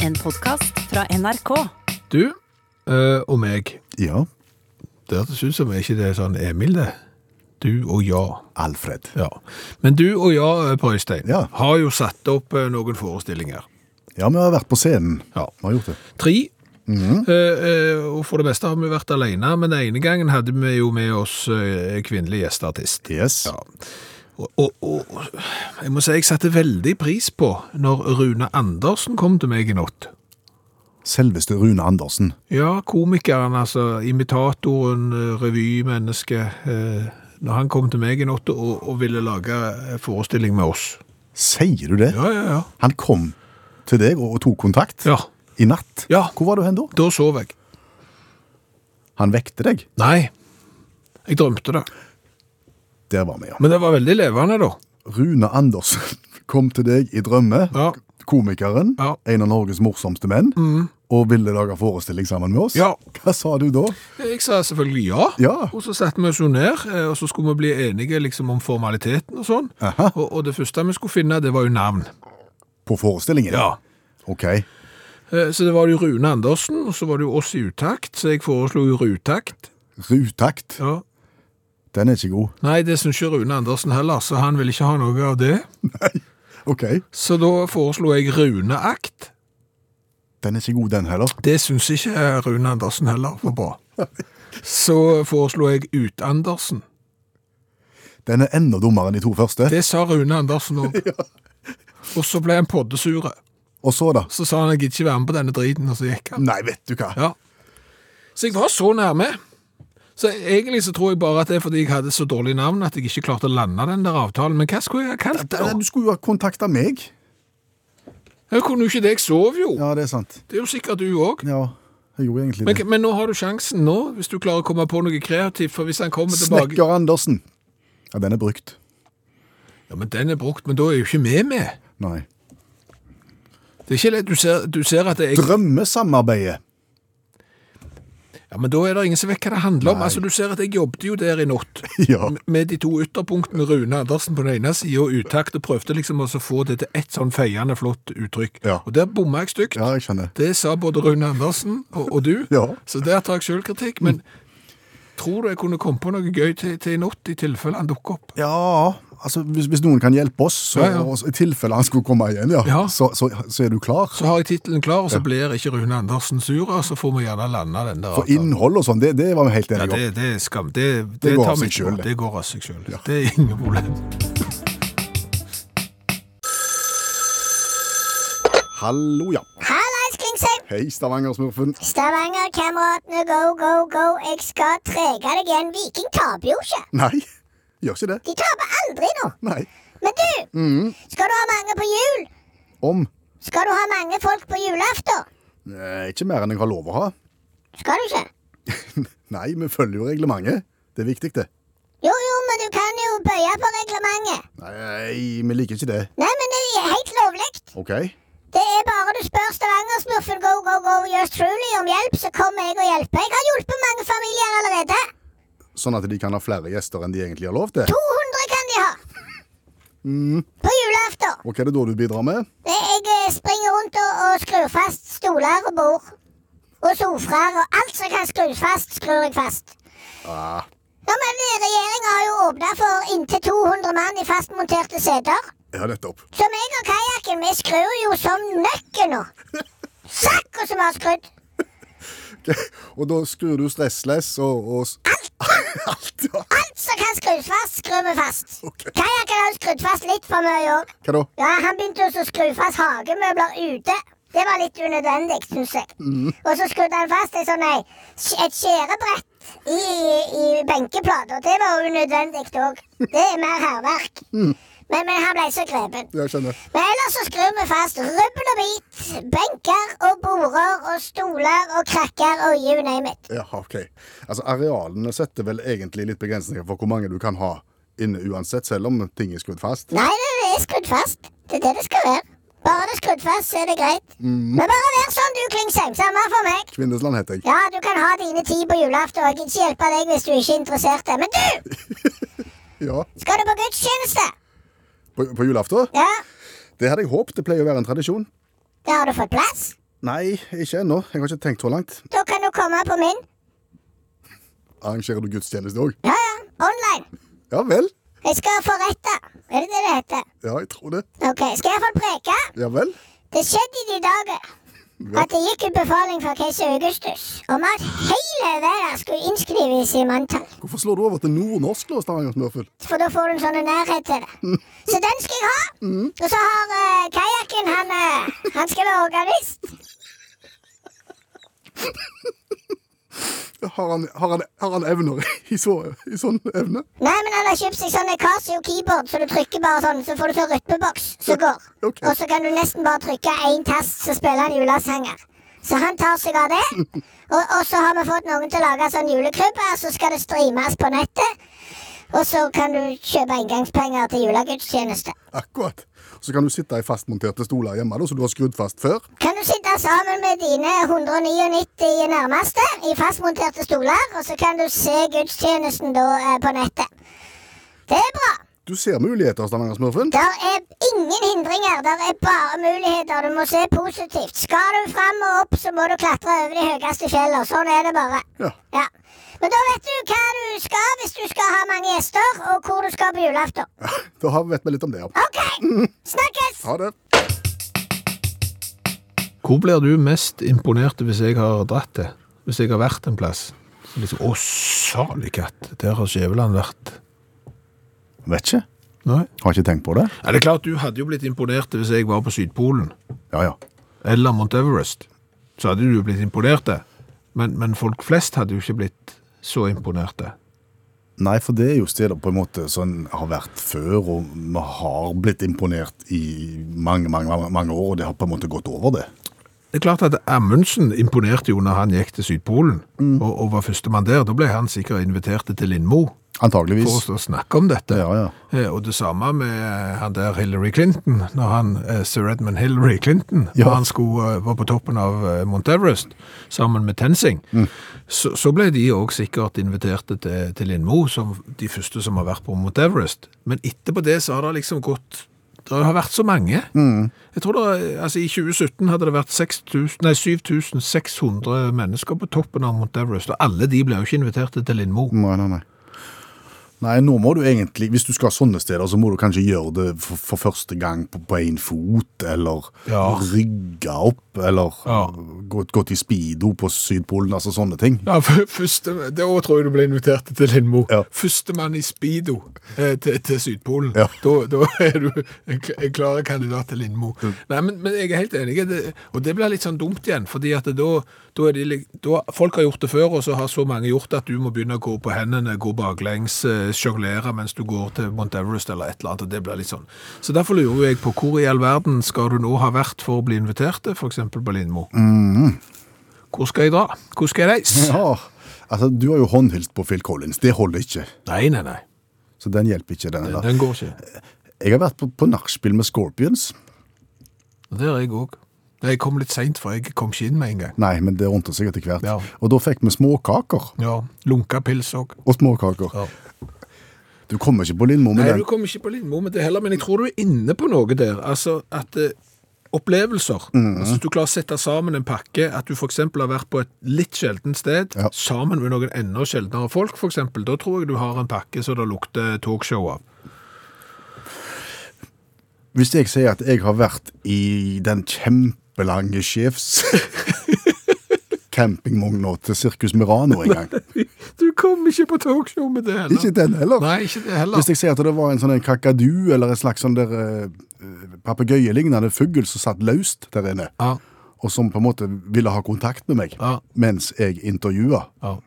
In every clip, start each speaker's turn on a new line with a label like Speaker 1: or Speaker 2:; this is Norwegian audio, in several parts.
Speaker 1: En podkast fra NRK.
Speaker 2: Du eh, og meg,
Speaker 3: Ja,
Speaker 2: det hørtes ut som er ikke det sånn Emil, det. Du og ja.
Speaker 3: Alfred.
Speaker 2: ja. Men du og ja, eh, Per Øystein,
Speaker 3: Ja.
Speaker 2: har jo satt opp eh, noen forestillinger.
Speaker 3: Ja, vi har vært på scenen.
Speaker 2: Ja.
Speaker 3: Vi har gjort det.
Speaker 2: Tre. Eh, eh, og for det meste har vi vært alene, men den ene gangen hadde vi jo med oss eh, kvinnelig gjesteartist.
Speaker 3: Yes.
Speaker 2: Ja. Og, og, og jeg må si jeg satte veldig pris på når Rune Andersen kom til meg i natt.
Speaker 3: Selveste Rune Andersen.
Speaker 2: Ja, komikeren, altså imitatoren, eh, revymennesket. eh, Når han kom til meg i natt og, og ville lage eh, forestilling med oss.
Speaker 3: Sier du det?
Speaker 2: Ja, ja, ja.
Speaker 3: Han kom til deg og og tok kontakt
Speaker 2: Ja,
Speaker 3: i natt.
Speaker 2: Ja.
Speaker 3: Hvor var du hen da?
Speaker 2: Da sov jeg.
Speaker 3: Han vekte deg.
Speaker 2: Nei, jeg drømte det.
Speaker 3: Der var vi, ja.
Speaker 2: Men det var veldig levende, da.
Speaker 3: Rune Andersen kom til deg i drømme.
Speaker 2: Ja.
Speaker 3: Komikeren.
Speaker 2: Ja. Mm.
Speaker 3: En av Norges morsomste menn. Og ville lage forestilling sammen med oss.
Speaker 2: Ja.
Speaker 3: Hva sa du da?
Speaker 2: Jeg sa selvfølgelig ja,
Speaker 3: Ja.
Speaker 2: og så satte vi oss jo ned, eh, og så skulle vi bli enige liksom om formaliteten og sånn.
Speaker 3: Aha.
Speaker 2: Og, og det første vi skulle finne, det var jo navn.
Speaker 3: På forestillingen? Ok.
Speaker 2: Eh, Så det var jo Rune Andersen, og så var det jo oss i utakt, så jeg foreslo jo Rutakt.
Speaker 3: Rutakt.
Speaker 2: Ja.
Speaker 3: Den er ikke god.
Speaker 2: Nei, det syns ikke Rune Andersen heller, så han ville ikke ha noe av det.
Speaker 3: Ok.
Speaker 2: Så da foreslo jeg Runeakt.
Speaker 3: Den er ikke god, den heller.
Speaker 2: Det syns ikke eh, Rune Andersen heller var bra. Så foreslo jeg Ut-Andersen.
Speaker 3: Den er enda dummere enn de to første.
Speaker 2: Det sa Rune Andersen òg. Og så ble han poddesure.
Speaker 3: Og så, da?
Speaker 2: Så sa han jeg gidder ikke være med på denne driten, og så gikk han.
Speaker 3: Nei, vet du hva.
Speaker 2: Ja. Så jeg var så nærme. Så egentlig så tror jeg bare at det er fordi jeg hadde så dårlig navn at jeg ikke klarte å lande den der avtalen. Men hva skulle jeg ha kalt det?
Speaker 3: Da-
Speaker 2: da?
Speaker 3: Du skulle jo ha kontakta meg.
Speaker 2: Jeg kunne jo ikke det, jeg sov jo.
Speaker 3: Ja, det er sant.
Speaker 2: Det er jo sikkert du òg.
Speaker 3: Ja, jeg gjorde egentlig
Speaker 2: Men,
Speaker 3: det.
Speaker 2: men nå har du sjansen nå, hvis du klarer å komme på noe kreativt. For hvis han kommer tilbake
Speaker 3: Snekker Andersen. Ja, den er brukt.
Speaker 2: Ja, men den er brukt, men da er jo ikke vi med.
Speaker 3: Nei.
Speaker 2: Det er ikke lett. Du ser, du ser at det er
Speaker 3: Drømmesamarbeidet.
Speaker 2: Ja, men da er det ingen som vet hva det handler om.
Speaker 3: Nei.
Speaker 2: Altså, Du ser at jeg jobbet jo der i natt.
Speaker 3: Ja.
Speaker 2: M- Med de to ytterpunktene Rune Andersen på den ene sida og utakt, og prøvde liksom også å få det til ett sånn feiende flott uttrykk.
Speaker 3: Ja.
Speaker 2: Og der bomma jeg stygt.
Speaker 3: Ja, jeg skjønner.
Speaker 2: Det sa både Rune Andersen og, og du,
Speaker 3: Ja. Mm.
Speaker 2: så der tar jeg sjølkritikk. Men tror du jeg kunne komme på noe gøy til, til i natt, i tilfelle han dukker opp?
Speaker 3: Ja, altså hvis, hvis noen kan hjelpe oss, så,
Speaker 2: Ja, ja.
Speaker 3: og i tilfelle han skulle komme igjen, ja,
Speaker 2: Ja.
Speaker 3: Så, så, så er du klar.
Speaker 2: Så har jeg tittelen klar, og så blir ikke Rune Andersen sur, og så får vi gjerne landa den der.
Speaker 3: For innhold og sånn, det, det var vi helt
Speaker 2: ja,
Speaker 3: enige om.
Speaker 2: det, det er skam. Det, det,
Speaker 3: Det går
Speaker 2: tar
Speaker 3: av
Speaker 2: vi
Speaker 3: seg
Speaker 2: ikke
Speaker 3: selv,
Speaker 2: på.
Speaker 3: det.
Speaker 2: Det går av seg sjøl. Det er ingen problem.
Speaker 3: Hallo, ja.
Speaker 4: Hallais, Klingsheim!
Speaker 3: Hei, Stavanger-smurfen.
Speaker 4: Stavanger-kameratene, go, go, go. Jeg skal trege deg igjen. Viking taper jo ikke.
Speaker 3: Nei, gjør ikke det.
Speaker 4: De taper aldri nå.
Speaker 3: Nei.
Speaker 4: Men du, skal du ha mange på jul?
Speaker 3: Om
Speaker 4: Skal du ha mange folk på julaften?
Speaker 3: eh, ikke mer enn jeg har lov å ha.
Speaker 4: Skal du ikke?
Speaker 3: Nei, vi følger jo reglementet. Det er viktig, det.
Speaker 4: Jo, jo, men du kan jo bøye på reglementet.
Speaker 3: Nei, vi liker ikke det.
Speaker 4: Nei, men det er helt lovlig.
Speaker 3: OK?
Speaker 4: Det er bare du spør Stavanger-smurfen go, go, go, yours truly om hjelp, så kommer jeg og hjelper. Jeg har hjulpet mange familier allerede.
Speaker 3: Sånn at de kan ha flere gjester enn de egentlig har lov til.
Speaker 4: 200 kan de ha. På julaften.
Speaker 3: Og hva er det da du bidrar med?
Speaker 4: Det Jeg eh, springer rundt og, og skrur fast stoler og bord. Og sofaer og alt som kan skrus fast, skrur jeg fast.
Speaker 3: Ah,
Speaker 4: Ja, men Regjeringa har jo åpna for inntil 200 mann i fastmonterte seter.
Speaker 3: ja, nettopp.
Speaker 4: Så meg og kajakken, vi skrur jo som nøkken nå. Sakko som har skrudd.
Speaker 3: Og da skrur du stressless og, og s- Alt! ja.
Speaker 4: Alt som kan skrus fast, skrur vi fast.
Speaker 3: Ok.
Speaker 4: Kajakken har jo skrudd fast litt for mye òg.
Speaker 3: Hva da?
Speaker 4: Ja, han begynte også å skru fast hagemøbler ute. Det var litt unødvendig, syns jeg. Og så skrudde han fast ei sånn, ei- et skjærebrett i, i benkeplata. Det var unødvendig òg. Det er mer hærverk. Men, men han ble så grepen.
Speaker 3: Jeg skjønner.
Speaker 4: Men ellers så skrur vi fast rubbel og bit. Benker og border og stoler og krakker og you name it.
Speaker 3: Ja, ok. Altså, Arealene setter vel egentlig litt begrensninger for hvor mange du kan ha inne uansett, selv om ting er skrudd fast.
Speaker 4: Nei, det det er skrudd fast. Det er det det skal være. Bare det er skrudd fast, så er det greit. Men bare vær sånn, du, Klingsheim. Samme for meg.
Speaker 3: Kvinnesland heter jeg.
Speaker 4: Ja, du kan ha dine ti på julaften. og Jeg kan ikke hjelpe deg hvis du ikke er interessert. Men du!
Speaker 3: Ja.
Speaker 4: Skal du på gudstjeneste?
Speaker 3: På, på julaften?
Speaker 4: Ja,
Speaker 3: Det hadde jeg håpet. Det pleier å være en tradisjon.
Speaker 4: da har du fått plass.
Speaker 3: Nei, ikke ennå. Jeg har ikke tenkt så langt.
Speaker 4: Da kan du komme på min.
Speaker 3: Arrangerer du gudstjeneste òg?
Speaker 4: Ja, ja. Online.
Speaker 3: Ja vel?
Speaker 4: Jeg skal forrette. Er det det det heter?
Speaker 3: Ja, jeg tror det.
Speaker 4: Ok, Skal jeg iallfall preke?
Speaker 3: Ja vel?
Speaker 4: Det skjedde i de dager
Speaker 3: Ja.
Speaker 4: at det gikk ut befaling fra keiser Augustus om at hele verden skulle innskrives i manntall.
Speaker 3: Hvorfor slår du over til nordnorsk nå, Stavanger Smørfugl?
Speaker 4: For da får du en sånn nærhet til det. Så den skal jeg ha. Og så har uh, kajakken han, eh, han skal være organist.
Speaker 3: Har han, har han, har han evner i, så, i sånn evne?
Speaker 4: Nei, men han har kjøpt seg sånn Casio keyboard, så du trykker bare sånn, så får du sånn rytmeboks som går.
Speaker 3: Ok.
Speaker 4: Og så kan du nesten bare trykke én tast, så spiller han julesanger. Så han tar seg av det. Og, og så har vi fått noen til å lage sånn julekrybbe, så skal det streames på nettet. Og så kan du kjøpe inngangspenger til julegudstjeneste.
Speaker 3: Akkurat. Så kan du sitte i fastmonterte stoler hjemme, da, så du har skrudd fast før.
Speaker 4: Kan du sitte sammen med dine 199 nærmeste i fastmonterte stoler, og så kan du se gudstjenesten da eh, på nettet. Det er bra.
Speaker 3: Du ser muligheter, Stavanger Smørfugl.
Speaker 4: Der er ingen hindringer, der er bare muligheter. Du må se positivt. Skal du fram og opp, så må du klatre over de høyeste fjellene. Sånn er det bare.
Speaker 3: Ja.
Speaker 4: Ja. Men da vet du hva du skal hvis du skal ha mange gjester, og hvor du skal på julaften.
Speaker 3: Da har- vet vi litt om det. ja.
Speaker 4: OK! Snakkes!
Speaker 3: Ha det.
Speaker 2: Hvor blir du mest imponert hvis jeg har dratt til? Hvis jeg har vært en plass? Så Liksom, Å, salig katt! Der har Skjæveland vært.
Speaker 3: Vet ikke.
Speaker 2: Nei?
Speaker 3: Har ikke tenkt på det.
Speaker 2: Ja, det er klart, du hadde jo blitt imponert hvis jeg var på Sydpolen.
Speaker 3: Ja, ja.
Speaker 2: Eller Mount Everest. Så hadde du blitt imponerte. Men, men folk flest hadde jo ikke blitt så imponerte.
Speaker 3: Nei, for det er jo steder på en måte som har vært før, og vi har blitt imponert i mange, mange, mange- mange år, og det har på en måte gått over det.
Speaker 2: Det er klart at Amundsen imponerte jo når han gikk til Sydpolen og, og var førstemann der. Da ble han sikkert invitert til Lindmo for å
Speaker 3: Antageligvis.
Speaker 2: stå og snakke om dette.
Speaker 3: Ja, ja.
Speaker 2: Eh, Og det samme med eh, han der Hillary Clinton, når han, eh, Sir Edmund Hillary Clinton,
Speaker 3: Ja.
Speaker 2: når han skulle, eh, var på toppen av eh, Mount Everest sammen med Tensing,
Speaker 3: Mm.
Speaker 2: så, så ble de òg sikkert inviterte til, til Lindmo, som de første som har vært på Mount Everest. Men etterpå det så har det liksom gått Det har vært så mange.
Speaker 3: Mm.
Speaker 2: Jeg tror det, altså I 2017 hadde det vært 6000 nei, 7600 mennesker på toppen av Mount Everest, og alle de ble jo ikke inviterte til Lindmo.
Speaker 3: Nei, nei, nei. Nei, nå må du egentlig, hvis du skal sånne steder, så må du kanskje gjøre det for, for første gang på, på en fot, eller
Speaker 2: Ja.
Speaker 3: rygge opp, eller
Speaker 2: Ja.
Speaker 3: gå, gå til speedo på Sydpolen, altså sånne ting.
Speaker 2: Ja, f- første, Da tror jeg du ble invitert til Lindmo.
Speaker 3: Ja.
Speaker 2: Førstemann i speedo eh, til, til Sydpolen.
Speaker 3: Ja.
Speaker 2: Da, da er du en, kl- en klar kandidat til Lindmo.
Speaker 3: Mm.
Speaker 2: Nei, men, men jeg er helt enig, det, og det blir litt sånn dumt igjen. fordi at det da, da er de, lik- da, Folk har gjort det før, og så har så mange gjort det at du må begynne å gå på hendene, gå baklengs, eh, sjonglere mens du går til Mount Everest eller et eller annet. og det blir litt sånn. Så derfor lurer jeg på hvor i all verden skal du nå ha vært for å bli invitert til f.eks. på Lindmo?
Speaker 3: Mm.
Speaker 2: Hvor skal jeg dra? Hvor skal jeg reise?
Speaker 3: Ja, altså du har jo håndhilst på Phil Collins, det holder ikke.
Speaker 2: Nei, nei, nei.
Speaker 3: Så den hjelper ikke, den heller.
Speaker 2: Den går ikke.
Speaker 3: Jeg har vært på, på nachspiel med Scorpions.
Speaker 2: Det er jeg òg. Jeg kom litt seint, for jeg kom ikke inn med en gang.
Speaker 3: Nei, men det ordnet seg etter hvert.
Speaker 2: Ja.
Speaker 3: Og da fikk vi småkaker.
Speaker 2: Ja, Lunka pils òg.
Speaker 3: Og småkaker.
Speaker 2: Ja.
Speaker 3: Du kommer ikke på Lindmo med
Speaker 2: Nei, du
Speaker 3: den.
Speaker 2: kom ikke på Lindmo med det heller, men jeg tror du er inne på noe der. Altså at eh, opplevelser altså, Hvis du klarer å sette sammen en pakke, at du f.eks. har vært på et litt sjeldent sted
Speaker 3: Ja.
Speaker 2: sammen med noen enda sjeldnere folk, f.eks., da tror jeg du har en pakke som det lukter talkshow av.
Speaker 3: Hvis jeg sier at jeg har vært i den kjempelange sjefs campingvogna til Sirkus Mirano en gang.
Speaker 2: Du kom ikke på talkshow med det heller.
Speaker 3: Ikke den heller.
Speaker 2: Nei, ikke det heller.
Speaker 3: Hvis jeg sier at det var en sånn en kakadu eller en slags sånn der eh, papegøyelignende fugl som satt løst der inne,
Speaker 2: Ja,
Speaker 3: og som på en måte ville ha kontakt med meg
Speaker 2: Ja.
Speaker 3: mens jeg intervjua.
Speaker 2: ja.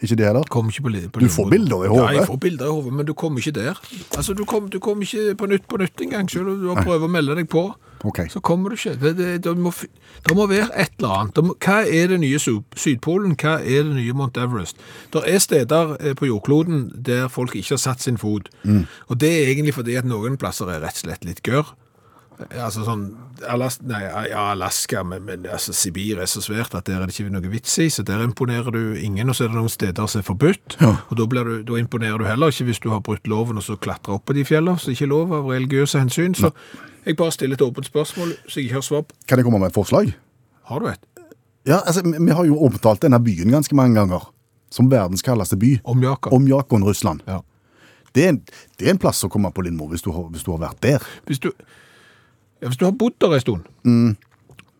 Speaker 3: Ikke det heller?
Speaker 2: Kom ikke på, li- på
Speaker 3: Du
Speaker 2: Lindmo.
Speaker 3: får bilder i hodet.
Speaker 2: Ja, jeg får bilder i hodet, men du kom ikke der. Altså, du kom, du kom ikke på nytt på nytt engang, selv om du har prøvd å melde deg på.
Speaker 3: Ok.
Speaker 2: Så kommer du ikke. Det, det, det, må, fi- det må være et eller annet. Det må, hva er det nye Su- Sydpolen? Hva er det nye Mount Everest? Det er steder eh, på jordkloden der folk ikke har satt sin fot.
Speaker 3: Mm.
Speaker 2: Og det er egentlig fordi at noen plasser er rett og slett litt gørr. Altså sånn Alas Nei, ja, Alaska, men, men altså, Sibir er så svært at der er det ikke noe vits i, så der imponerer du ingen, og så er det noen steder som er forbudt. Og da, blir du, da imponerer du heller ikke hvis du har brutt loven og så klatrer opp på de fjellene, så ikke er lov av religiøse hensyn. Så jeg bare stiller et åpent spørsmål som jeg ikke har svar på.
Speaker 3: Kan jeg komme med et forslag?
Speaker 2: Har du et?
Speaker 3: Ja, altså, vi vi har jo omtalt denne byen ganske mange ganger. Som verdens kaldeste by.
Speaker 2: Omjakon.
Speaker 3: Omjakon, Russland.
Speaker 2: Ja.
Speaker 3: Det, er en, det er en plass å komme på Lindmo hvis du, har, hvis du har vært der.
Speaker 2: Hvis du, ja, hvis du har bodd der en stund,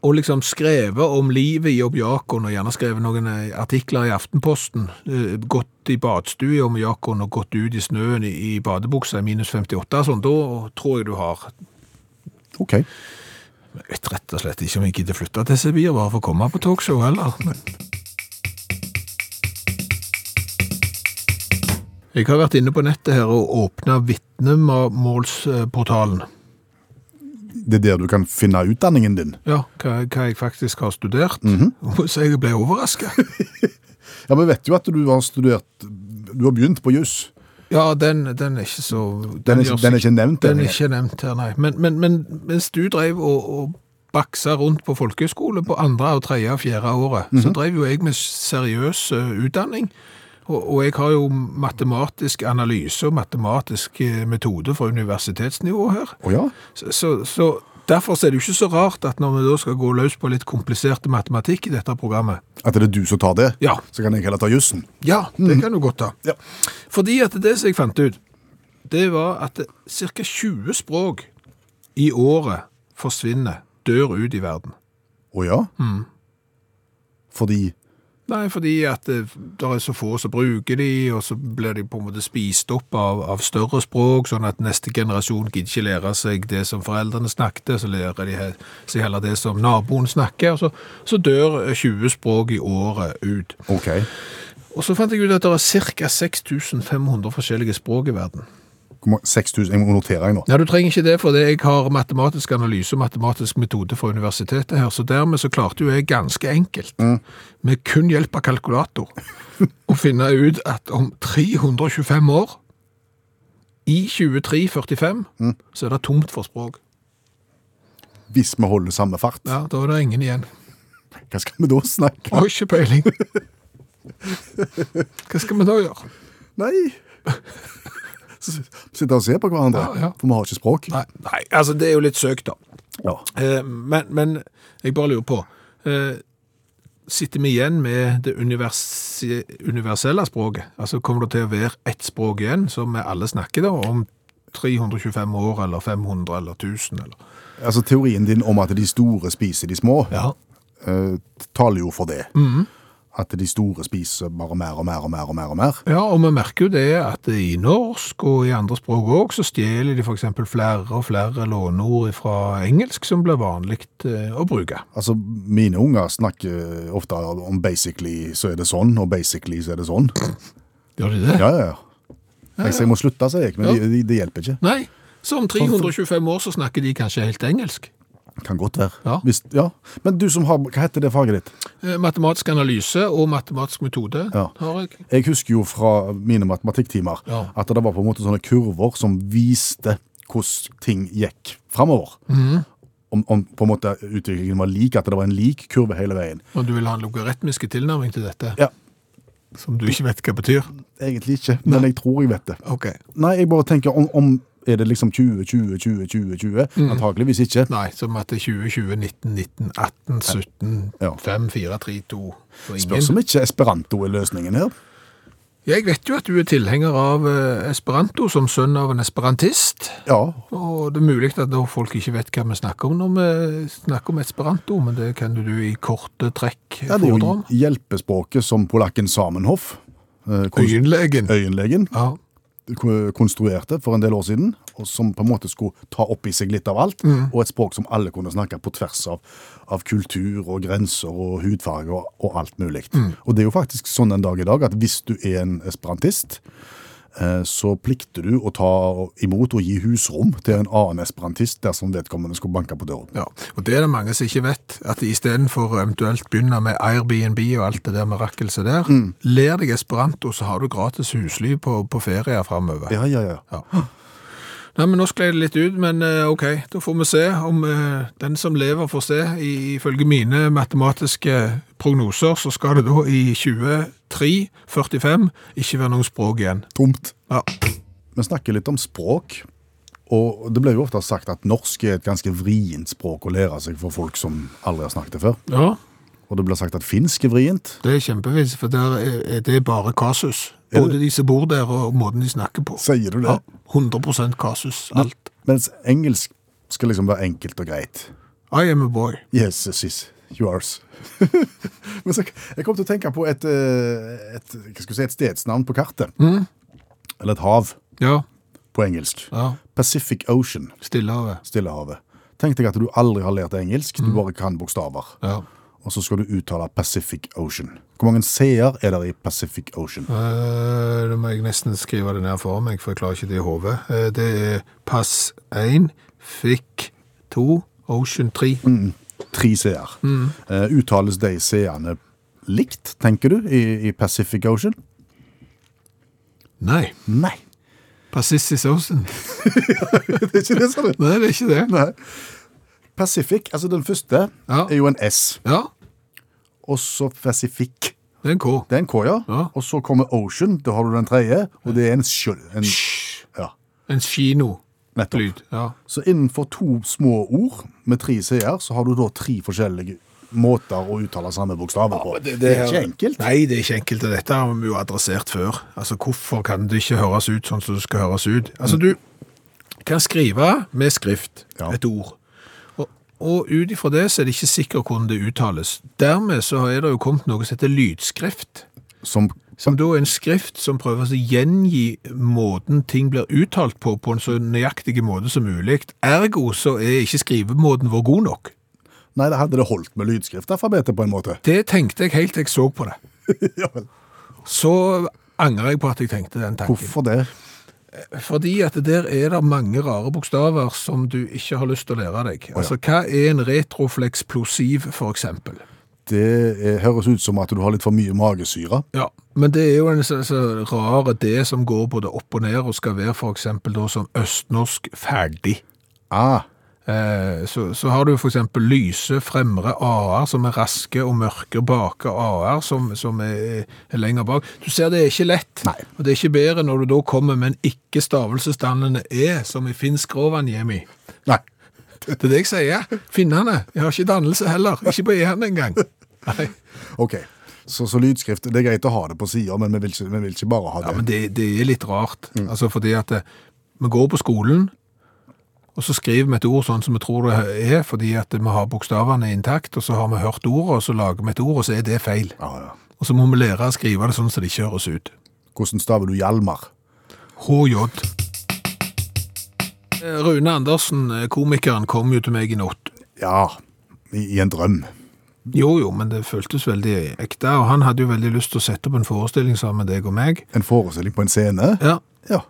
Speaker 2: og liksom skrevet om livet i Objakon, og gjerne skrevet noen eh, artikler i Aftenposten, eh, gått i badstua i Objakon og gått ut i snøen i, i badebuksa i minus 58, og sånn, da tror jeg du har
Speaker 3: Ok.
Speaker 2: Jeg vet rett og slett ikke om jeg gidder flytte til Sibir bare for å komme på talkshow heller. Men... Jeg har vært inne på nettet her og åpna vitnemålsportalen.
Speaker 3: Det er der du kan finne utdanningen din.
Speaker 2: Ja, hva, hva jeg faktisk har studert.
Speaker 3: Mhm.
Speaker 2: Så jeg ble overraska.
Speaker 3: Ja, Vi vet jo at du har studert Du har begynt på juss.
Speaker 2: Ja, den, den er ikke så
Speaker 3: Den er ikke-
Speaker 2: gjør
Speaker 3: den er ikke
Speaker 2: seg-
Speaker 3: nevnt
Speaker 2: Den
Speaker 3: her.
Speaker 2: er ikke nevnt her, nei. Men, men, men mens du drev og, og baksa rundt på folkehøyskole på andre og tredje og fjerde året,
Speaker 3: Mhm.
Speaker 2: så drev jo jeg med seriøs eh, utdanning. Og, og jeg har jo matematisk analyse og matematisk eh, metode fra universitetsnivå her.
Speaker 3: Å ja?
Speaker 2: Så, så, så derfor er det jo ikke så rart at når vi da skal gå løs på litt kompliserte matematikk i dette programmet,
Speaker 3: At det er du som tar det?
Speaker 2: Ja.
Speaker 3: Så kan jeg heller ta jussen.
Speaker 2: Ja,
Speaker 3: Mhm.
Speaker 2: det kan du godt ta.
Speaker 3: Ja.
Speaker 2: Fordi at det som jeg fant ut, det var at ca. 20 språk i året forsvinner, dør ut i verden.
Speaker 3: Å ja?
Speaker 2: Mm.
Speaker 3: Fordi
Speaker 2: Nei, fordi at det der er så få som bruker de, og så blir de på en måte spist opp av, av større språk, sånn at neste generasjon gidder ikke lære seg det som foreldrene snakket, så lærer de he- seg heller det som naboen snakker, og så, så dør 20 språk i året ut.
Speaker 3: OK.
Speaker 2: Og så fant jeg ut at det er ca. 6500 forskjellige språk i verden.
Speaker 3: Hvor mange- 6000 Jeg må notere jeg nå.
Speaker 2: Ja, Du trenger ikke det, for det- jeg har matematisk analyse og matematisk metode fra universitetet her, så dermed så klarte jo jeg ganske enkelt, med kun hjelp av kalkulator, å finne ut at om 325 år, i 2345, så er det tomt for språk.
Speaker 3: Hvis vi holder samme fart,
Speaker 2: Ja, Da er det ingen igjen.
Speaker 3: hva skal vi da snakke
Speaker 2: Har ikke peiling. Hva skal vi da gjøre?
Speaker 3: Nei! S- Sitte og se på hverandre,
Speaker 2: Ja, ja.
Speaker 3: for vi har ikke språk.
Speaker 2: Nei, nei, altså det er jo litt søkt, da.
Speaker 3: Ja.
Speaker 2: Eh, men, men jeg bare lurer på eh, Sitter vi igjen med det universi universelle språket? Altså Kommer det til å være ett språk igjen som vi alle snakker da, om 325 år, eller 500, eller 1000? Eller?
Speaker 3: Altså Teorien din om at de store spiser de små, eh, taler jo for det. At de store spiser bare mer og mer og mer og mer. og mer.
Speaker 2: ja, og vi merker jo det at i norsk og i andre språk òg, så stjeler de f.eks. flere og flere låneord fra engelsk som blir vanlig eh, å bruke.
Speaker 3: Altså, Mine unger snakker ofte om 'basically så er det sånn', og 'basically så er det sånn'.
Speaker 2: Gjør de det?
Speaker 3: Ja, ja, ja. Jeg, sier jeg må slutte, sier jeg, men det de, det hjelper ikke.
Speaker 2: Nei. Så om 325 år så snakker de kanskje helt engelsk.
Speaker 3: Kan godt være.
Speaker 2: Ja.
Speaker 3: Hvis, ja. Men du som har Hva heter det faget ditt?
Speaker 2: Eh, Matematisk analyse og matematisk metode
Speaker 3: Ja.
Speaker 2: har jeg.
Speaker 3: Jeg husker jo fra mine matematikktimer
Speaker 2: Ja.
Speaker 3: at det var på en måte sånne kurver som viste hvordan ting gikk framover.
Speaker 2: Mhm.
Speaker 3: Om, om på en måte utviklingen var lik, at det var en lik kurve hele veien.
Speaker 2: Og du vil ha en logaritmiske tilnærming til dette,
Speaker 3: Ja,
Speaker 2: som du ikke vet hva betyr.
Speaker 3: Egentlig ikke, men jeg tror jeg vet det.
Speaker 2: Ok.
Speaker 3: Nei, jeg bare tenker om, om er det liksom 20, 20, 20, 20, 20? Antakeligvis ikke.
Speaker 2: Mhm. Nei, som at det er 20, 20, 19, 19, 18, 17,
Speaker 3: Ja.
Speaker 2: 5, 4, 3, 2 og
Speaker 3: Spørs
Speaker 2: ingen.
Speaker 3: om ikke esperanto er løsningen her.
Speaker 2: Jeg vet jo at du er tilhenger av eh, esperanto som sønn av en esperantist.
Speaker 3: Ja,
Speaker 2: Og det er mulig at da folk ikke vet hva vi snakker om når vi snakker om esperanto, men det kan du i korte trekk
Speaker 3: Ja, det er
Speaker 2: fordre
Speaker 3: jo
Speaker 2: om.
Speaker 3: hjelpespråket som polakken Samenhoff, eh, konst-
Speaker 2: Øyenlegen.
Speaker 3: øyenlegen,
Speaker 2: Ja.
Speaker 3: ko- konstruerte for en del år siden, og som på en måte skulle ta opp i seg litt av alt, og et språk som alle kunne snakke på tvers av, av kultur og grenser og hudfarge og, og alt mulig. Og det er jo faktisk sånn en dag i dag at hvis du er en esperantist, eh, så plikter du å ta imot og gi husrom til en annen esperantist dersom vedkommende skulle banke på døren.
Speaker 2: Ja, og det er det mange som ikke vet, at istedenfor å eventuelt begynne med Airbnb og alt det der mirakelset der, ler deg esperanto, så har du gratis husly på, på ferier framover.
Speaker 3: Ja, ja, ja.
Speaker 2: Nei, men nå sklei det litt ut, men eh, ok, da får vi se om eh, den som lever får se. I- Ifølge mine matematiske prognoser så skal det da i 2345 ikke være noe språk igjen.
Speaker 3: Tomt.
Speaker 2: Ja.
Speaker 3: Vi snakker litt om språk Og det blir jo ofte sagt at norsk er et ganske vrient språk å lære seg for folk som aldri har snakket det før.
Speaker 2: Ja,
Speaker 3: Og det blir sagt at finsk er vrient.
Speaker 2: det er kjempevis, for der er, er det bare kasus. Både de som bor der, og måten de snakker på.
Speaker 3: Sier du det?
Speaker 2: Ja, 100 kasus, alt.
Speaker 3: Mens engelsk skal liksom være enkelt og greit.
Speaker 2: I am a boy.
Speaker 3: Yes, sis, you are. Men så, jeg kom til å tenke på et, eh, et, hva skal jeg si, et stedsnavn på kartet. Eller et hav
Speaker 2: Ja,
Speaker 3: på engelsk.
Speaker 2: Mm. ja.
Speaker 3: Pacific Ocean,
Speaker 2: Stillehavet.
Speaker 3: Stillehavet. Tenk deg at du aldri har lært engelsk, du bare kan bokstaver.
Speaker 2: Mm. Ja.
Speaker 3: Og så skal du uttale Pacific Ocean. Hvor mange C-er er det i Pacific Ocean?
Speaker 2: Eh, Da må jeg nesten skrive det ned for meg, for jeg klarer ikke det i hodet. Eh, Det er pass 1, fikk 2, ocean 3.
Speaker 3: Mm. Tre C-er.
Speaker 2: Mm.
Speaker 3: Eh, uttales de C-ene likt, tenker du, i, i Pacific Ocean?
Speaker 2: Nei,
Speaker 3: Nei,
Speaker 2: Pacific Ocean.
Speaker 3: det er ikke det som er
Speaker 2: Nei, det er ikke det.
Speaker 3: Nei. Pacific, altså den første,
Speaker 2: Ja.
Speaker 3: er jo en S.
Speaker 2: Ja,
Speaker 3: Og så Pacific.
Speaker 2: det er en K.
Speaker 3: Det er en K, ja.
Speaker 2: Ja.
Speaker 3: Og så kommer Ocean, da har du den tredje, og det er en skjøll. En,
Speaker 2: Sj,
Speaker 3: ja,
Speaker 2: En kino-lyd.
Speaker 3: nettopp.
Speaker 2: Ja.
Speaker 3: Så innenfor to små ord med tre C-er, så har du da tre forskjellige måter å uttale samme bokstaver på. er ikke enkelt.
Speaker 2: Nei, det er ikke enkelt. og Dette har vi jo adressert før. Altså, Hvorfor kan det ikke høres ut sånn som det skal høres ut? Altså, Du kan skrive med skrift
Speaker 3: Ja.
Speaker 2: et ord. Og, og ut ifra det så er det ikke sikkert hvordan det uttales. Dermed så er det jo kommet noe som heter lydskrift.
Speaker 3: Som,
Speaker 2: Som da er en skrift som prøver å gjengi måten ting blir uttalt på, på en så nøyaktig måte som mulig. Ergo så er ikke skrivemåten vår god nok.
Speaker 3: nei, det hadde det holdt med lydskriftalfabetet på en måte.
Speaker 2: Det tenkte jeg helt til jeg så på det.
Speaker 3: ja, vel.
Speaker 2: Så angrer jeg på at jeg tenkte den tanken.
Speaker 3: Hvorfor det?
Speaker 2: Fordi at der er det mange rare bokstaver som du ikke har lyst til å lære deg. Altså, hva er en retrofleksplosiv, for eksempel?
Speaker 3: Det eh, høres ut som at du har litt for mye magesyre.
Speaker 2: Ja, men det er jo en så, så rare det som går både opp og ned, og skal være for eksempel da som østnorsk ferdig.
Speaker 3: Ah,
Speaker 2: Eh, så, så har du for eksempel lyse fremre A-er som er raske, og mørke bake A-er som, som er, er lenger bak. Du ser det er ikke lett,
Speaker 3: Nei.
Speaker 2: og det er ikke bedre når du da kommer med en ikke-stavelsesdannende E, som i finsk råvannhjemi.
Speaker 3: nei.
Speaker 2: Det er det jeg sier. Finnene. Jeg har ikke dannelse heller. Ikke på E-en engang. Nei.
Speaker 3: Ok, så, så lydskrift, det er greit å ha det på sida, men vi vil, ikke, vi vil ikke bare ha det.
Speaker 2: Ja, men det, det er litt rart. Altså fordi at eh, vi går på skolen, og så skriver vi et ord sånn som vi tror det er, fordi at vi har bokstavene intakt, og så har vi hørt ordet, og så lager vi et ord, og så er det feil.
Speaker 3: ja, ja.
Speaker 2: Og så må vi lære å skrive det sånn som det ikke høres ut.
Speaker 3: Hvordan staver du Hjalmar?
Speaker 2: HJ. Eh, Rune Andersen, eh, komikeren, kom jo til meg i natt.
Speaker 3: Ja, i, i en drøm.
Speaker 2: Jo, jo, men det føltes veldig ekte, og han hadde jo veldig lyst til å sette opp en forestilling sammen med deg og meg.
Speaker 3: En forestilling på en scene.
Speaker 2: Ja,
Speaker 3: Ja.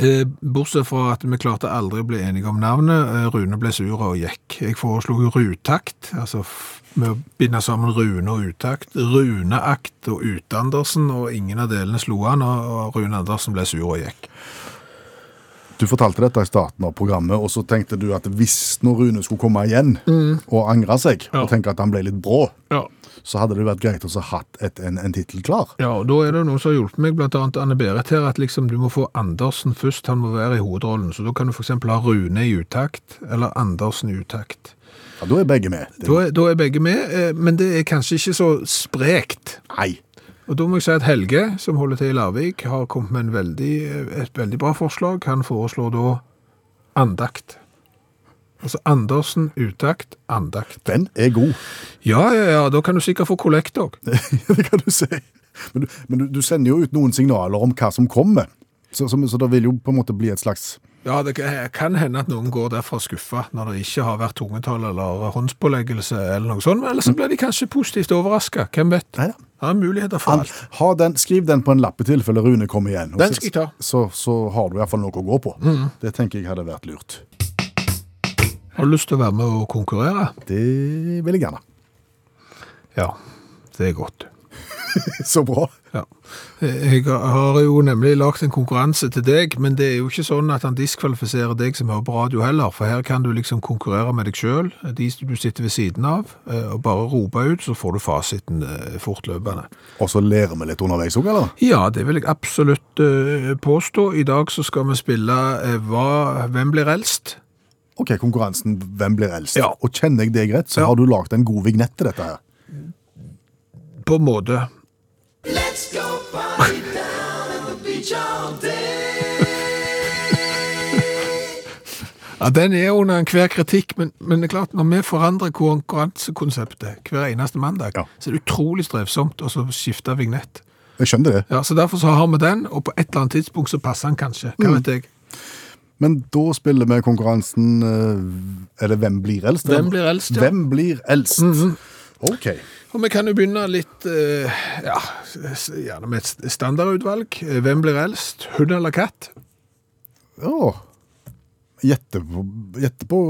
Speaker 2: Eh, Bortsett fra at vi klarte aldri å bli enige om navnet. Eh, Rune ble sur og gikk. Jeg foreslo jo Rutakt, altså f- med å binde sammen Rune og Utakt. Runeakt og Utandersen, og ingen av delene slo han, og og Rune Andersen ble sur og gikk.
Speaker 3: Du fortalte dette i starten av programmet, og så tenkte du at hvis når Rune skulle komme igjen og angre seg,
Speaker 2: Mm. Ja.
Speaker 3: og tenke at han ble litt brå,
Speaker 2: Ja.
Speaker 3: så hadde det vært greit å så hatt et, en, en tittel klar.
Speaker 2: og Da er det noen som har hjulpet meg, bl.a. Anne Berit, her, at liksom du må få Andersen først. Han må være i hovedrollen. Så da kan du f.eks. ha Rune i utakt, eller Andersen i utakt.
Speaker 3: Ja, Da er begge med. Det,
Speaker 2: Da er, da er begge med, eh, men det er kanskje ikke så sprekt.
Speaker 3: nei.
Speaker 2: Og da må jeg si at Helge, som holder til i Larvik, har kommet med en veldig, et veldig bra forslag. Han foreslår da andakt. Altså Andersen, utakt, andakt.
Speaker 3: Den er god,
Speaker 2: Ja, ja, ja, da kan du sikkert få kollekt òg.
Speaker 3: det kan du si. Men, du, men du, du sender jo ut noen signaler om hva som kommer, så, så, så det vil jo på en måte bli et slags
Speaker 2: Ja, det kan hende at noen går derfra skuffa når det ikke har vært tungetall eller håndspåleggelse eller noe sånt. Men ellers så blir de kanskje positivt overraska. Hvem vet?
Speaker 3: Neida.
Speaker 2: Det er muligheter for
Speaker 3: Han,
Speaker 2: alt.
Speaker 3: ha den, skriv den på en lapp i tilfelle Rune kommer igjen. Og
Speaker 2: Den
Speaker 3: så-
Speaker 2: skal jeg ta.
Speaker 3: Så, så har du i hvert fall noe å gå på.
Speaker 2: Mhm.
Speaker 3: Det tenker jeg hadde vært lurt.
Speaker 2: Har du lyst til å være med og konkurrere?
Speaker 3: Det vil jeg gjerne.
Speaker 2: Ja, det er godt.
Speaker 3: Så bra.
Speaker 2: Ja. Eh, Jeg har jo nemlig lagt en konkurranse til deg, men det er jo ikke sånn at han diskvalifiserer deg som hører på radio heller, for her kan du liksom konkurrere med deg selv, de du sitter ved siden av, eh, og bare rope ut, så får du fasiten eh, fortløpende.
Speaker 3: Og så lærer vi litt underveis òg, eller?
Speaker 2: Ja, det vil jeg absolutt eh, påstå. I dag så skal vi spille eh, hva, Hvem blir eldst?
Speaker 3: OK, konkurransen Hvem blir eldst?
Speaker 2: Ja.
Speaker 3: Og kjenner jeg deg rett, så
Speaker 2: Ja.
Speaker 3: har du lagd en god vignett til dette her.
Speaker 2: På en måte.
Speaker 5: Let's go party down at the beach all day.
Speaker 2: Ja, Den er under enhver kritikk, men, men det er klart, når vi forandrer konkurransekonseptet hver eneste mandag,
Speaker 3: Ja.
Speaker 2: så er det utrolig strevsomt å så skifte vignett.
Speaker 3: Jeg skjønner det.
Speaker 2: Ja, så Derfor så har vi den, og på et eller annet tidspunkt så passer den kanskje. Hva vet jeg?
Speaker 3: Men da spiller vi konkurransen eh, Er det Hvem blir eldst?
Speaker 2: Hvem blir eldst, ja. Mhm.
Speaker 3: Hvem blir eldst? OK.
Speaker 2: Og Vi kan jo begynne litt eh, ja, s- gjerne med et st- standardutvalg. Eh, Hvem blir eldst? Hund eller katt?
Speaker 3: Ja. Gjette på, gjette på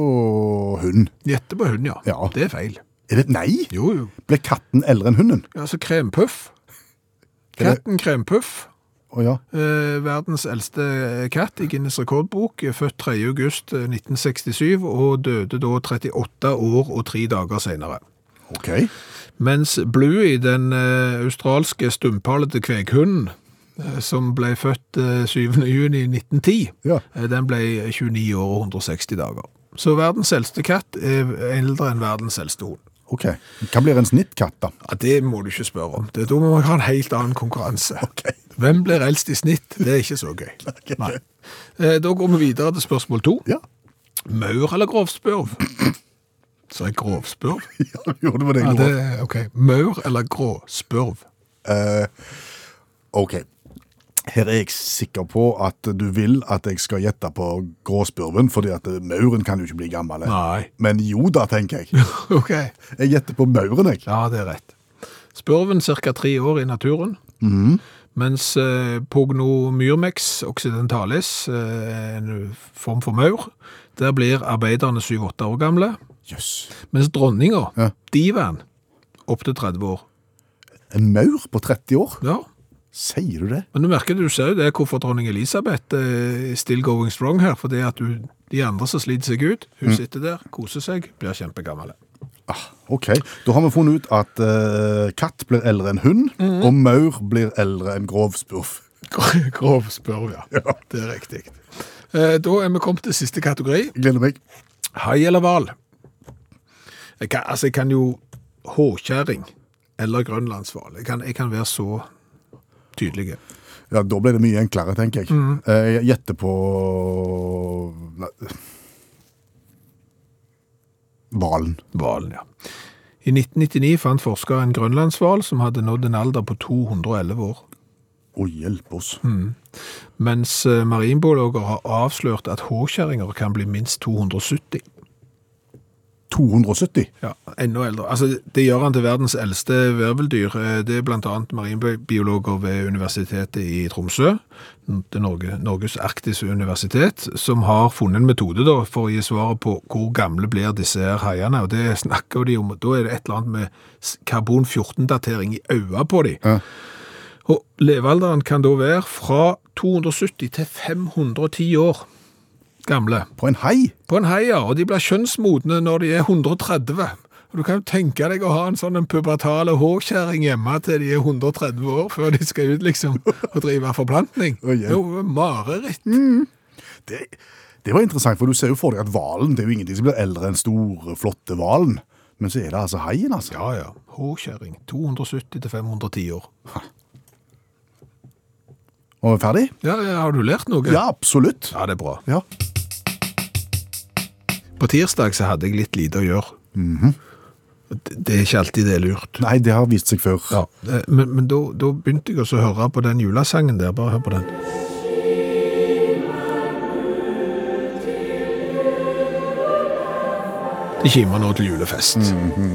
Speaker 3: hund.
Speaker 2: Gjette på hund, ja.
Speaker 3: Ja.
Speaker 2: Det er feil.
Speaker 3: Er det Nei!
Speaker 2: Jo, jo.
Speaker 3: Blir katten eldre enn hunden?
Speaker 2: Ja, så krempuff. Katten Krempuff,
Speaker 3: Å ja.
Speaker 2: eh, verdens eldste eh, katt i Guinness rekordbok, er født 3. august eh, 1967 og døde da 38 år og tre dager senere.
Speaker 3: OK.
Speaker 2: Mens Bluey, den eh, australske stumphallete kveghunden, eh, som ble født eh, 7. juni 1910,
Speaker 3: Ja.
Speaker 2: eh, den ble 29 år og 160 dager. Så verdens eldste katt er eldre enn verdens eldste hund.
Speaker 3: ok. Hva blir en snittkatt, da?
Speaker 2: Ja, Det må du ikke spørre om. Det, da må man ha en helt annen konkurranse. Hvem blir eldst i snitt? Det er ikke så gøy. Nei. Eh, Da går vi videre til spørsmål to.
Speaker 3: Ja.
Speaker 2: Maur eller grovspurv? Så er grovspurv?
Speaker 3: ja jo, det var det
Speaker 2: Ja,
Speaker 3: jeg
Speaker 2: det,
Speaker 3: gjorde.
Speaker 2: ok. Maur eller gråspurv?
Speaker 3: Eh, OK. Her er jeg sikker på at du vil at jeg skal gjette på gråspurven, fordi at eh, mauren kan jo ikke bli gammel.
Speaker 2: Nei.
Speaker 3: Men jo da, tenker jeg.
Speaker 2: Ok.
Speaker 3: Jeg gjetter på mauren, jeg.
Speaker 2: Ja, det er rett. Spurven ca. tre år i naturen, Mhm. mens eh, Pognomyrmex occidentalis, eh, en form for maur, der blir arbeiderne 7-8 år gamle,
Speaker 3: Jøss.
Speaker 2: mens dronninga,
Speaker 3: Ja.
Speaker 2: divaen, opp til 30 år.
Speaker 3: En maur på 30 år?
Speaker 2: Ja,
Speaker 3: Sier du det?
Speaker 2: men du merker det, du ser jo det hvorfor dronning Elisabeth eh, still going strong her, for det at hun, de andre som sliter seg ut, hun sitter der, koser seg, blir kjempegammel.
Speaker 3: Ah, ok. Da har vi funnet ut at eh, katt blir eldre enn hund, og maur blir eldre enn grovspurv.
Speaker 2: Grov spurv, ja. ja. Det er riktig. Eh, da er vi kommet til siste kategori.
Speaker 3: Jeg Gleder meg.
Speaker 2: Hai eller hval? Jeg kan, altså, jeg kan jo håkjæring eller grønlandshval. Jeg, kan- jeg kan være så tydelig.
Speaker 3: Ja, Da ble det mye enklere, tenker jeg. Eh, jeg gjetter på Nei. Hvalen.
Speaker 2: Hvalen, ja. I 1999 fant forskere en grønlandshval som hadde nådd en alder på 211 år.
Speaker 3: Å, hjelpe oss.
Speaker 2: Mens eh, marinbiologer har avslørt at håkjæringer kan bli minst 270.
Speaker 3: 270?
Speaker 2: Ja, enda eldre. Altså, det gjør han til verdens eldste virveldyr. Eh, Det er blant annet marinbiologer ved Universitetet i Tromsø, det er Norge, Norges arktiske universitet, som har funnet en metode da, for å gi svaret på hvor gamle blir disse her haiene. Og det snakker de om. Da er det et eller annet med s- karbon-14-datering i øya på de.
Speaker 3: Ja.
Speaker 2: Og levealderen kan da være fra 270 til 510 år gamle
Speaker 3: På en hai?
Speaker 2: på en heia, og de blir kjønnsmodne når de er 130. Og du kan jo tenke deg å ha en sånn en pubertale håkjæring hjemme til de er 130 år før de skal ut liksom og drive forplantning.
Speaker 3: Å, hjelp.
Speaker 2: Det er jo mareritt.
Speaker 3: Det, det var interessant, for du ser jo for deg at hvalen Det er jo ingenting som blir eldre enn store, flotte hvalen. Men så er det altså haien, altså.
Speaker 2: Ja, ja. Håkjæring. 270 til 510 år.
Speaker 3: Og er vi ferdig?
Speaker 2: Ja, ja, har du lært noe?
Speaker 3: Ja, absolutt.
Speaker 2: Ja, det er bra.
Speaker 3: Ja.
Speaker 2: På tirsdag så hadde jeg litt lite å gjøre. Mhm. det, det er ikke alltid det er lurt.
Speaker 3: Nei, det har vist seg før.
Speaker 2: Ja, det- men, men da, da begynte jeg også å høre på den julesangen der. Bare hør på den. Det kimer nå til julefest.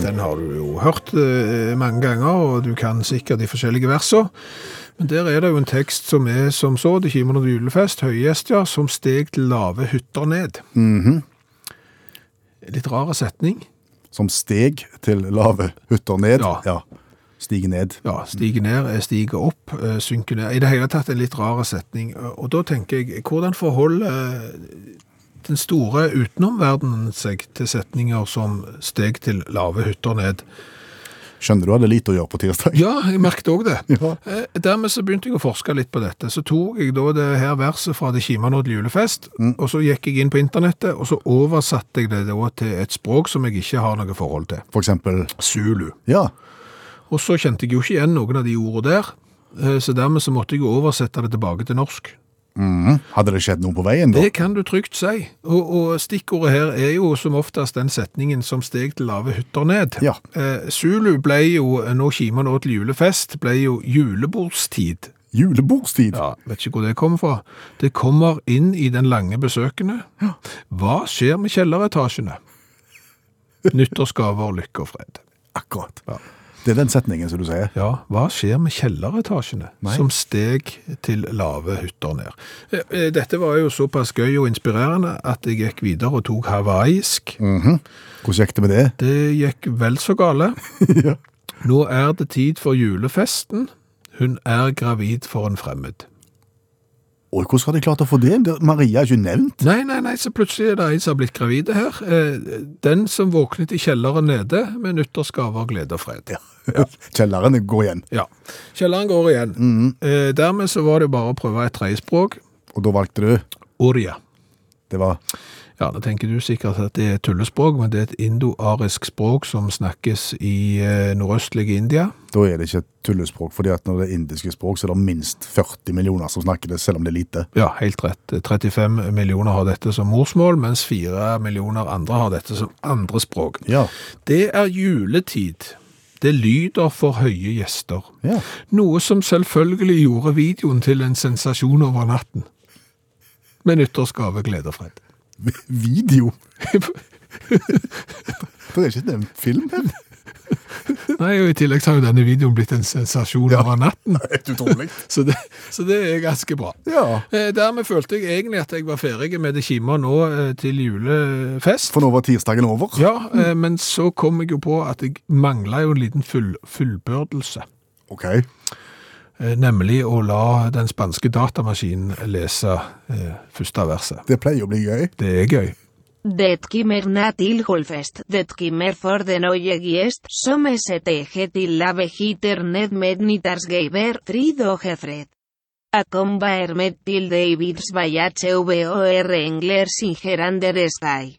Speaker 2: Den har du jo hørt eh, mange ganger, og du kan sikkert de forskjellige versene. Men der er det jo en tekst som er som så, det kimer nå til julefest, høygjester som steg til lave hytter ned. Litt rare setning.
Speaker 3: Som steg til lave hytter ned.
Speaker 2: Ja.
Speaker 3: Stige ned.
Speaker 2: Ja, stiger ned, eh, stiger opp, eh, synker ned. I det hele tatt en litt rar setning. Eh, Og da tenker jeg, hvordan forholder eh, den store utenomverdenen seg til setninger som steg til lave hytter ned?
Speaker 3: Skjønner du hadde lite å gjøre på tirsdag?
Speaker 2: Ja, jeg merket òg det.
Speaker 3: Ja.
Speaker 2: Eh, Dermed så begynte jeg å forske litt på dette. Så tok jeg da det her verset fra Det kimer nå til julefest, og så gikk jeg inn på internettet, og så oversatte jeg det da til et språk som jeg ikke har noe forhold til.
Speaker 3: For eksempel.
Speaker 2: Zulu.
Speaker 3: Ja.
Speaker 2: Og så kjente jeg jo ikke igjen noen av de ordene der, eh, så dermed så måtte jeg jo oversette det tilbake til norsk.
Speaker 3: Mhm. Hadde det skjedd noe på veien da?
Speaker 2: Det kan du trygt si, og, og stikkordet her er jo som oftest den setningen som steg til lave hytter ned.
Speaker 3: Ja.
Speaker 2: Eh, Zulu ble jo, eh, nå kimer nå til julefest, ble jo julebordstid.
Speaker 3: Julebordstid.
Speaker 2: Ja, vet ikke hvor det kommer fra. Det kommer inn i den lange besøkende. Hva skjer med kjelleretasjene? Nyttårsgaver, lykke og fred.
Speaker 3: Akkurat.
Speaker 2: Ja.
Speaker 3: Det er den setningen som du sier.
Speaker 2: Ja, hva skjer med kjelleretasjene som steg til lave hytter ned? Eh, eh, Dette var jo såpass gøy og inspirerende at jeg gikk videre og tok hawaiisk.
Speaker 3: Hvordan gikk det med det?
Speaker 2: Det gikk vel så gale. Nå er det tid for julefesten. Hun er gravid for en fremmed.
Speaker 3: Oi, hvordan har de klart å få det? Det- Maria er ikke nevnt.
Speaker 2: Nei, nei, nei, så plutselig er det en som har blitt gravide her. Eh, Den som våknet i kjelleren nede med nyttårsgaver, glede og fred.
Speaker 3: Kjelleren går igjen.
Speaker 2: Ja. Kjelleren går igjen. Eh, Dermed så var det bare å prøve et tredjespråk.
Speaker 3: Og da valgte du
Speaker 2: Oria.
Speaker 3: Det var
Speaker 2: Ja, da tenker du sikkert at det er et tullespråk, men det er et indoarisk språk som snakkes i eh, nordøstlige India.
Speaker 3: Da er det ikke et tullespråk, fordi at når det er indiske språk, så er det minst 40 millioner som snakker det, selv om det er lite.
Speaker 2: Ja, helt rett. 35 millioner har dette som morsmål, mens 4 millioner andre har dette som andre språk.
Speaker 3: Ja.
Speaker 2: Det er juletid. Det lyder for høye gjester.
Speaker 3: Ja.
Speaker 2: Noe som selvfølgelig gjorde videoen til en sensasjon over natten. Med nyttårsgave, glede og fred.
Speaker 3: Video. Det er ikke nevnt film her.
Speaker 2: Nei, og I tillegg så har jo denne videoen blitt en sensasjon over natten.
Speaker 3: Helt utrolig.
Speaker 2: Så det, så det er ganske bra.
Speaker 3: Ja.
Speaker 2: Eh, dermed følte jeg egentlig at jeg var ferdig med det kimer nå eh, til julefest.
Speaker 3: For nå var tirsdagen over.
Speaker 2: Ja, eh, men så kom jeg jo på at jeg mangla jo en liten full, fullbørdelse.
Speaker 3: Ok.
Speaker 2: Eh, Nemlig å la den spanske datamaskinen lese eh, første verset.
Speaker 3: Det pleier å bli gøy.
Speaker 2: Det er gøy.
Speaker 6: Detkimer natil holfest, detkimer for den ojegiest, somesete hetil lave hiter ned mednitas geiber trido jefred. Acomba hermet til davids vayache vor engler singerander sky.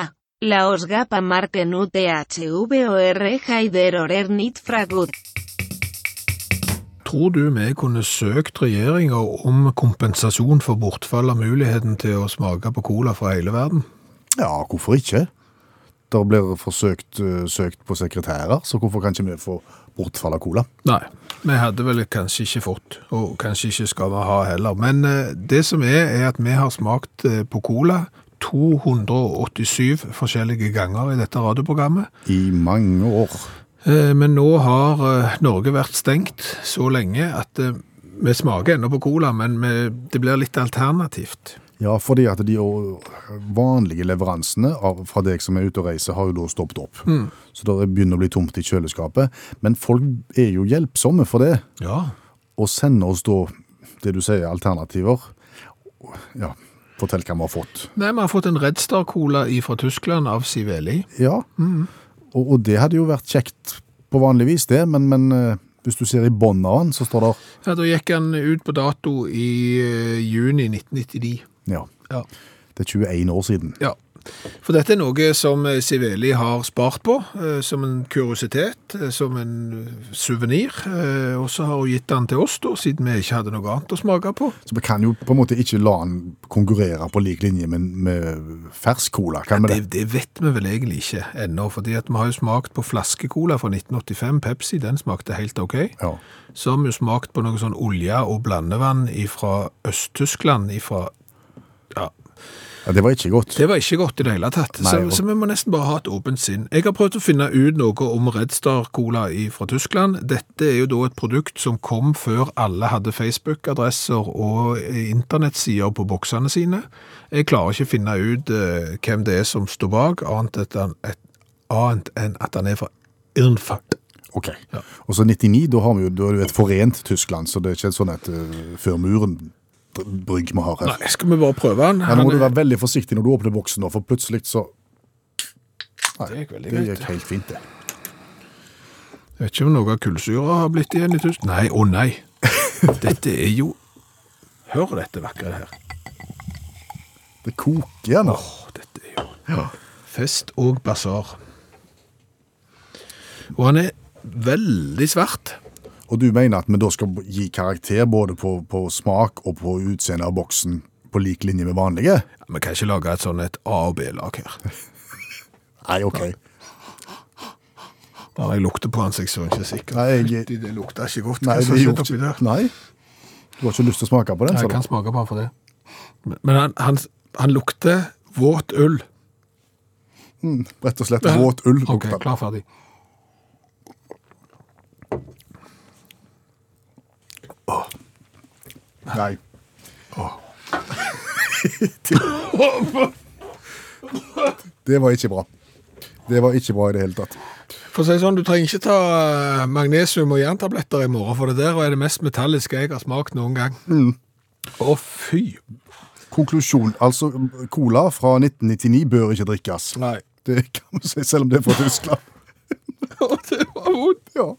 Speaker 6: A. Laos gapa marken uthvor haider orer nit fragut.
Speaker 2: Tror du vi kunne søkt regjeringa om kompensasjon for bortfall av muligheten til å smake på cola fra hele verden?
Speaker 3: Ja, hvorfor ikke? Det blir forsøkt eh, søkt på sekretærer, så hvorfor kan ikke vi få bortfall av cola?
Speaker 2: Nei. Vi hadde vel kanskje ikke fått, og kanskje ikke skal vi ha heller. Men eh, det som er, er at vi har smakt eh, på cola 287 forskjellige ganger i dette radioprogrammet.
Speaker 3: I mange år.
Speaker 2: Eh, Men nå har eh, Norge vært stengt så lenge at eh, vi smaker ennå på cola, men vi, det blir litt alternativt.
Speaker 3: Ja, fordi at de jo- vanlige leveransene av, fra deg som er ute og reiser, har jo da stoppet opp. Så det begynner å bli tomt i kjøleskapet. Men folk er jo hjelpsomme for det,
Speaker 2: Ja.
Speaker 3: og sender oss da det du sier, alternativer. Ja, fortell hva vi har fått.
Speaker 2: Nei, vi har fått en Red Star Cola fra Tyskland av Siveli.
Speaker 3: Ja, og, og det hadde jo vært kjekt på vanlig vis det, men, men eh, hvis du ser i bånden av den, så står det
Speaker 2: Ja, da gikk han ut på dato i eh, juni 1999.
Speaker 3: Ja,
Speaker 2: Ja.
Speaker 3: det er 21 år siden.
Speaker 2: ja. For dette er noe som eh, Siveli har spart på, eh, som en kuriositet, eh, som en suvenir. Og så har hun gitt den til oss, da, siden vi ikke hadde noe annet å smake på.
Speaker 3: Så vi kan jo på en måte ikke la den konkurrere på lik linje med, med fersk cola, kan vi det?
Speaker 2: Det, det vet vi vel egentlig ikke ennå, fordi at vi har jo smakt på flaskekola fra 1985. Pepsi, den smakte helt ok.
Speaker 3: Ja.
Speaker 2: Så har vi jo smakt på noe sånn olje og blandevann fra Øst-Tyskland. Ifra ja,
Speaker 3: ja, det var ikke godt.
Speaker 2: det var ikke godt i det hele tatt, så,
Speaker 3: Nei, og-
Speaker 2: så vi må nesten bare ha et åpent sinn. Jeg har prøvd å finne ut noe om Red Star Cola fra Tyskland. Dette er jo da et produkt som kom før alle hadde Facebook-adresser og internettsider på boksene sine. Jeg klarer ikke å finne ut eh, hvem det er som står bak, annet, at han, et, annet enn at han er fra Irnfart.
Speaker 3: Ok. Og så 99, da har vi jo da er det jo et forent Tyskland, så det er ikke et sånn et eh, før muren-brygg vi har her.
Speaker 2: Nei, skal vi bare prøve den?
Speaker 3: Her
Speaker 2: Han
Speaker 3: må
Speaker 2: er-
Speaker 3: du være veldig forsiktig når du åpner boksen, nå, for plutselig så Nei,
Speaker 2: Det gikk veldig
Speaker 3: det
Speaker 2: greit.
Speaker 3: gikk helt fint, det.
Speaker 2: Jeg vet ikke om noe av kullsyra har blitt igjen i tusen. Nei, å nei. Dette er jo Hør dette vakre her.
Speaker 3: Det koker igjen. da.
Speaker 2: Åh, dette er jo Fest og basar. Og han er veldig svart.
Speaker 3: Og du mener at vi da skal gi karakter både på, på smak og på utseende av boksen på lik linje med vanlige?
Speaker 2: Vi kan ikke lage et sånn et A- og B-lag her.
Speaker 3: Nei, OK.
Speaker 2: Når jeg lukter på han, så jeg er ikke sikker.
Speaker 3: Nei, jeg-
Speaker 2: Fytti, det lukter ikke godt.
Speaker 3: Nei,
Speaker 2: Hva som
Speaker 3: det
Speaker 2: skjedde
Speaker 3: gjorde
Speaker 2: oppi der?
Speaker 3: ikke Nei. Du har ikke lyst til å smake på den?
Speaker 2: Nei,
Speaker 3: sa
Speaker 2: jeg
Speaker 3: du?
Speaker 2: kan smake på han for det. Men- Men han, han, han lukter våt ull.
Speaker 3: Rett og slett våt ull.
Speaker 2: Ok,
Speaker 3: lukter.
Speaker 2: klar, ferdig.
Speaker 3: Nei. det var ikke bra. Det var ikke bra i det hele tatt.
Speaker 2: For å si det sånn, Du trenger ikke ta eh, magnesium- og jerntabletter i morgen, for det der er det mest metalliske jeg har smakt noen gang. Å,
Speaker 3: Mm.
Speaker 2: fy!
Speaker 3: Konklusjon. Altså, cola fra 1999 bør ikke drikkes.
Speaker 2: Nei.
Speaker 3: Det kan vi si, selv om det er fra Tyskland.
Speaker 2: det var vondt!
Speaker 3: Ja,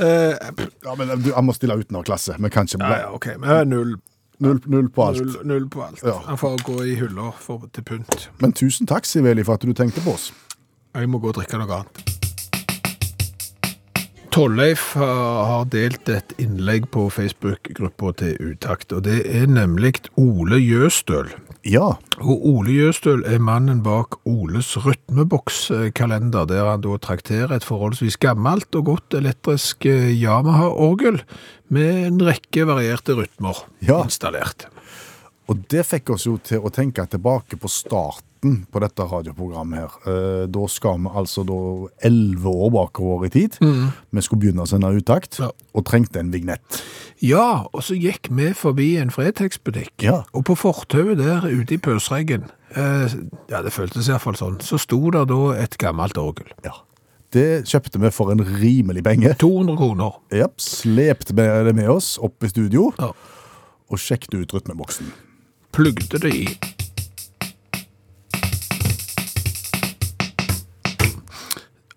Speaker 2: Eh,
Speaker 3: ja men du, Han må stille utenfor klasse. Vi kan
Speaker 2: ja,
Speaker 3: ikke bla.
Speaker 2: ja, OK. Vi har null,
Speaker 3: Null, null på alt.
Speaker 2: null, null på alt.
Speaker 3: Ja.
Speaker 2: Han får gå i hyller for, til pynt.
Speaker 3: Men tusen takk, Siveli, for at du tenkte på oss.
Speaker 2: Jeg må gå og drikke noe annet. Tollleif eh, har delt et innlegg på Facebook-gruppa til Utakt, og det er nemlig Ole Jøstøl.
Speaker 3: Ja,
Speaker 2: Og Ole Jøstøl er mannen bak Oles rytmebokskalender, der han da trakterer et forholdsvis gammelt og godt elektrisk eh, Yamaha-orgel med en rekke varierte rytmer
Speaker 3: Ja.
Speaker 2: installert.
Speaker 3: og det fikk oss jo til å tenke tilbake på starten på dette radioprogrammet her. Eh, Da skal vi altså da elleve år bakover i tid. Vi skulle begynne å sende utakt,
Speaker 2: Mm. Ja.
Speaker 3: og trengte en vignett.
Speaker 2: Ja, og så gikk vi forbi en Fretex-butikk,
Speaker 3: Ja.
Speaker 2: og på fortauet der ute i pøsreggen, eh, ja det føltes i hvert fall sånn, så sto der da et gammelt orgel.
Speaker 3: Ja. Det kjøpte vi for en rimelig penge.
Speaker 2: 200 kroner.
Speaker 3: Japp, slepte med det med oss opp i studio
Speaker 2: Ja.
Speaker 3: og sjekket ut rytmeboksen.
Speaker 2: plugde det i.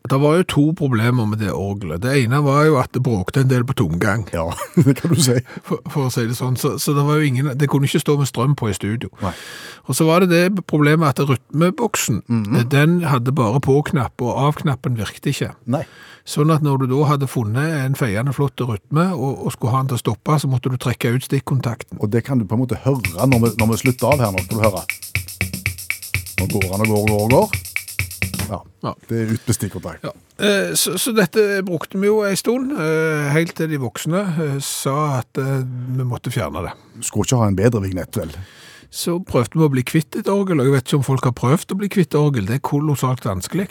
Speaker 2: Det var jo to problemer med det orgelet. Det ene var jo at det bråkte en del på tomgang,
Speaker 3: Ja, det kan du si.
Speaker 2: for, for å si det sånn. Så, så det var jo ingen, det kunne ikke stå med strøm på i studio.
Speaker 3: Nei.
Speaker 2: Og så var det det problemet at rytmeboksen, eh, den hadde bare på-knapp, og av-knappen virkte ikke.
Speaker 3: Nei.
Speaker 2: Sånn at når du da hadde funnet en feiende flott rytme, og, og skulle ha den til å stoppe, så måtte du trekke ut stikkontakten.
Speaker 3: Og det kan du på en måte høre når vi, når vi slutter av her nå. Skal du høre. Nå går han og går og går og går. Ja,
Speaker 2: Ja.
Speaker 3: det er ut med stikkontakt.
Speaker 2: Ja. Eh, Så, så dette brukte vi jo en stund, eh, helt til de voksne eh, sa at eh, vi måtte fjerne det.
Speaker 3: Skulle ikke ha en bedre vignett, vel?
Speaker 2: Så prøvde vi å bli kvitt et orgel, og jeg vet ikke om folk har prøvd å bli kvitt orgel. Det er kolossalt vanskelig.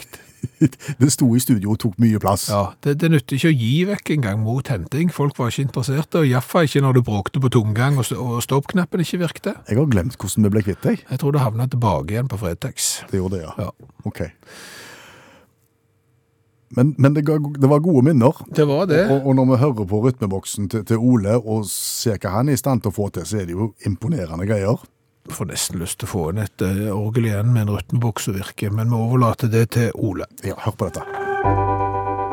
Speaker 3: Det sto i studio og tok mye plass.
Speaker 2: Ja, det, det nytter ikke å gi vekk engang mot henting. Folk var ikke interesserte, og iallfall ikke når du bråkte på tomgang og, st- og stoppknappen ikke virkte.
Speaker 3: Jeg har glemt hvordan vi ble kvitt deg.
Speaker 2: Jeg tror det havna tilbake igjen på Fretex.
Speaker 3: Det gjorde det, ja.
Speaker 2: Ja.
Speaker 3: Ok. Men, men det, ga, det var gode minner.
Speaker 2: Det var det.
Speaker 3: Og, og når vi hører på rytmeboksen til, til Ole og ser hva han er i stand til å få til, så er det jo imponerende greier.
Speaker 2: Får nesten lyst til å få inn et eh, orgel igjen med en rytmeboks som virker, men vi overlater det til Ole.
Speaker 3: Ja, hør på dette.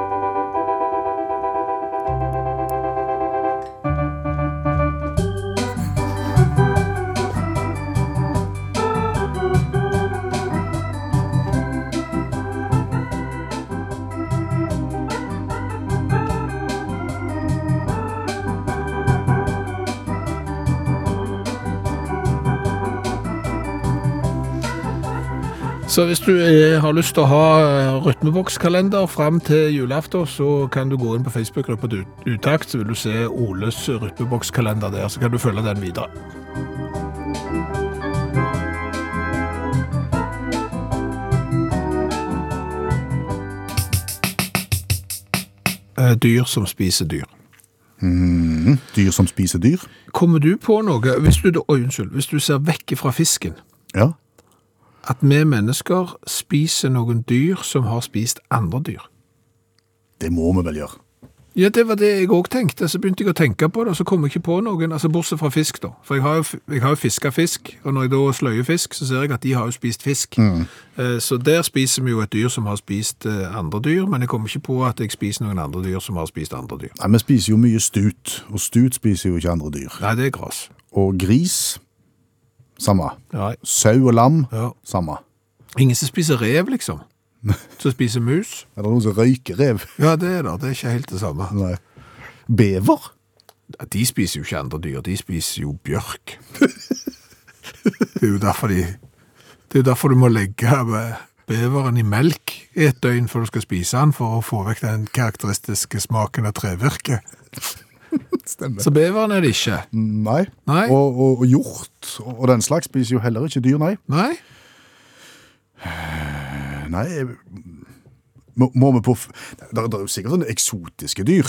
Speaker 2: Så hvis du eh, har lyst til å ha eh, rytmebokskalender fram til julaften, så kan du gå inn på Facebook-gruppa til Ut- Utakt, så vil du se Oles rytmebokskalender der, så kan du følge den videre. Eh, Dyr som spiser dyr.
Speaker 3: Dyr som spiser dyr.
Speaker 2: Kommer du på noe, hvis du, da- oi, unnskyld, hvis du ser vekk fra fisken,
Speaker 3: Ja.
Speaker 2: at vi mennesker spiser noen dyr som har spist andre dyr?
Speaker 3: Det må vi vel gjøre.
Speaker 2: Ja, det var det jeg òg tenkte. Så begynte jeg å tenke på det, og så kom jeg ikke på noen. Altså Bortsett fra fisk, da. For jeg har jo, f- jeg har jo fiska fisk, og når jeg da sløyer fisk, så ser jeg at de har jo spist fisk. Eh, Så der spiser vi jo et dyr som har spist eh, andre dyr, men jeg kommer ikke på at jeg spiser noen andre dyr som har spist andre dyr.
Speaker 3: Nei, Vi spiser jo mye stut, og stut spiser jo ikke andre dyr.
Speaker 2: Nei, det er gras.
Speaker 3: Og gris samme.
Speaker 2: Nei.
Speaker 3: Sau og lam
Speaker 2: Ja.
Speaker 3: samme.
Speaker 2: Ingen som spiser rev, liksom. Som spiser mus.
Speaker 3: Er det noen som røyker rev?
Speaker 2: Ja, det er det. Det er ikke helt det samme.
Speaker 3: Nei. Bever?
Speaker 2: De spiser jo ikke andre dyr, de spiser jo bjørk. Det er jo derfor de Det er jo derfor du må legge be- beveren i melk i et døgn før du skal spise den, for å få vekk den karakteristiske smaken av trevirke.
Speaker 3: Stemmer. Mm.
Speaker 2: Så beveren er det ikke.
Speaker 3: Nei.
Speaker 2: Nei.
Speaker 3: Og, og, og hjort og, og den slags spiser jo heller ikke dyr, nei.
Speaker 2: Nei?
Speaker 3: Nei, jeg- må, må vi på f- Det er jo sikkert sånne eksotiske dyr.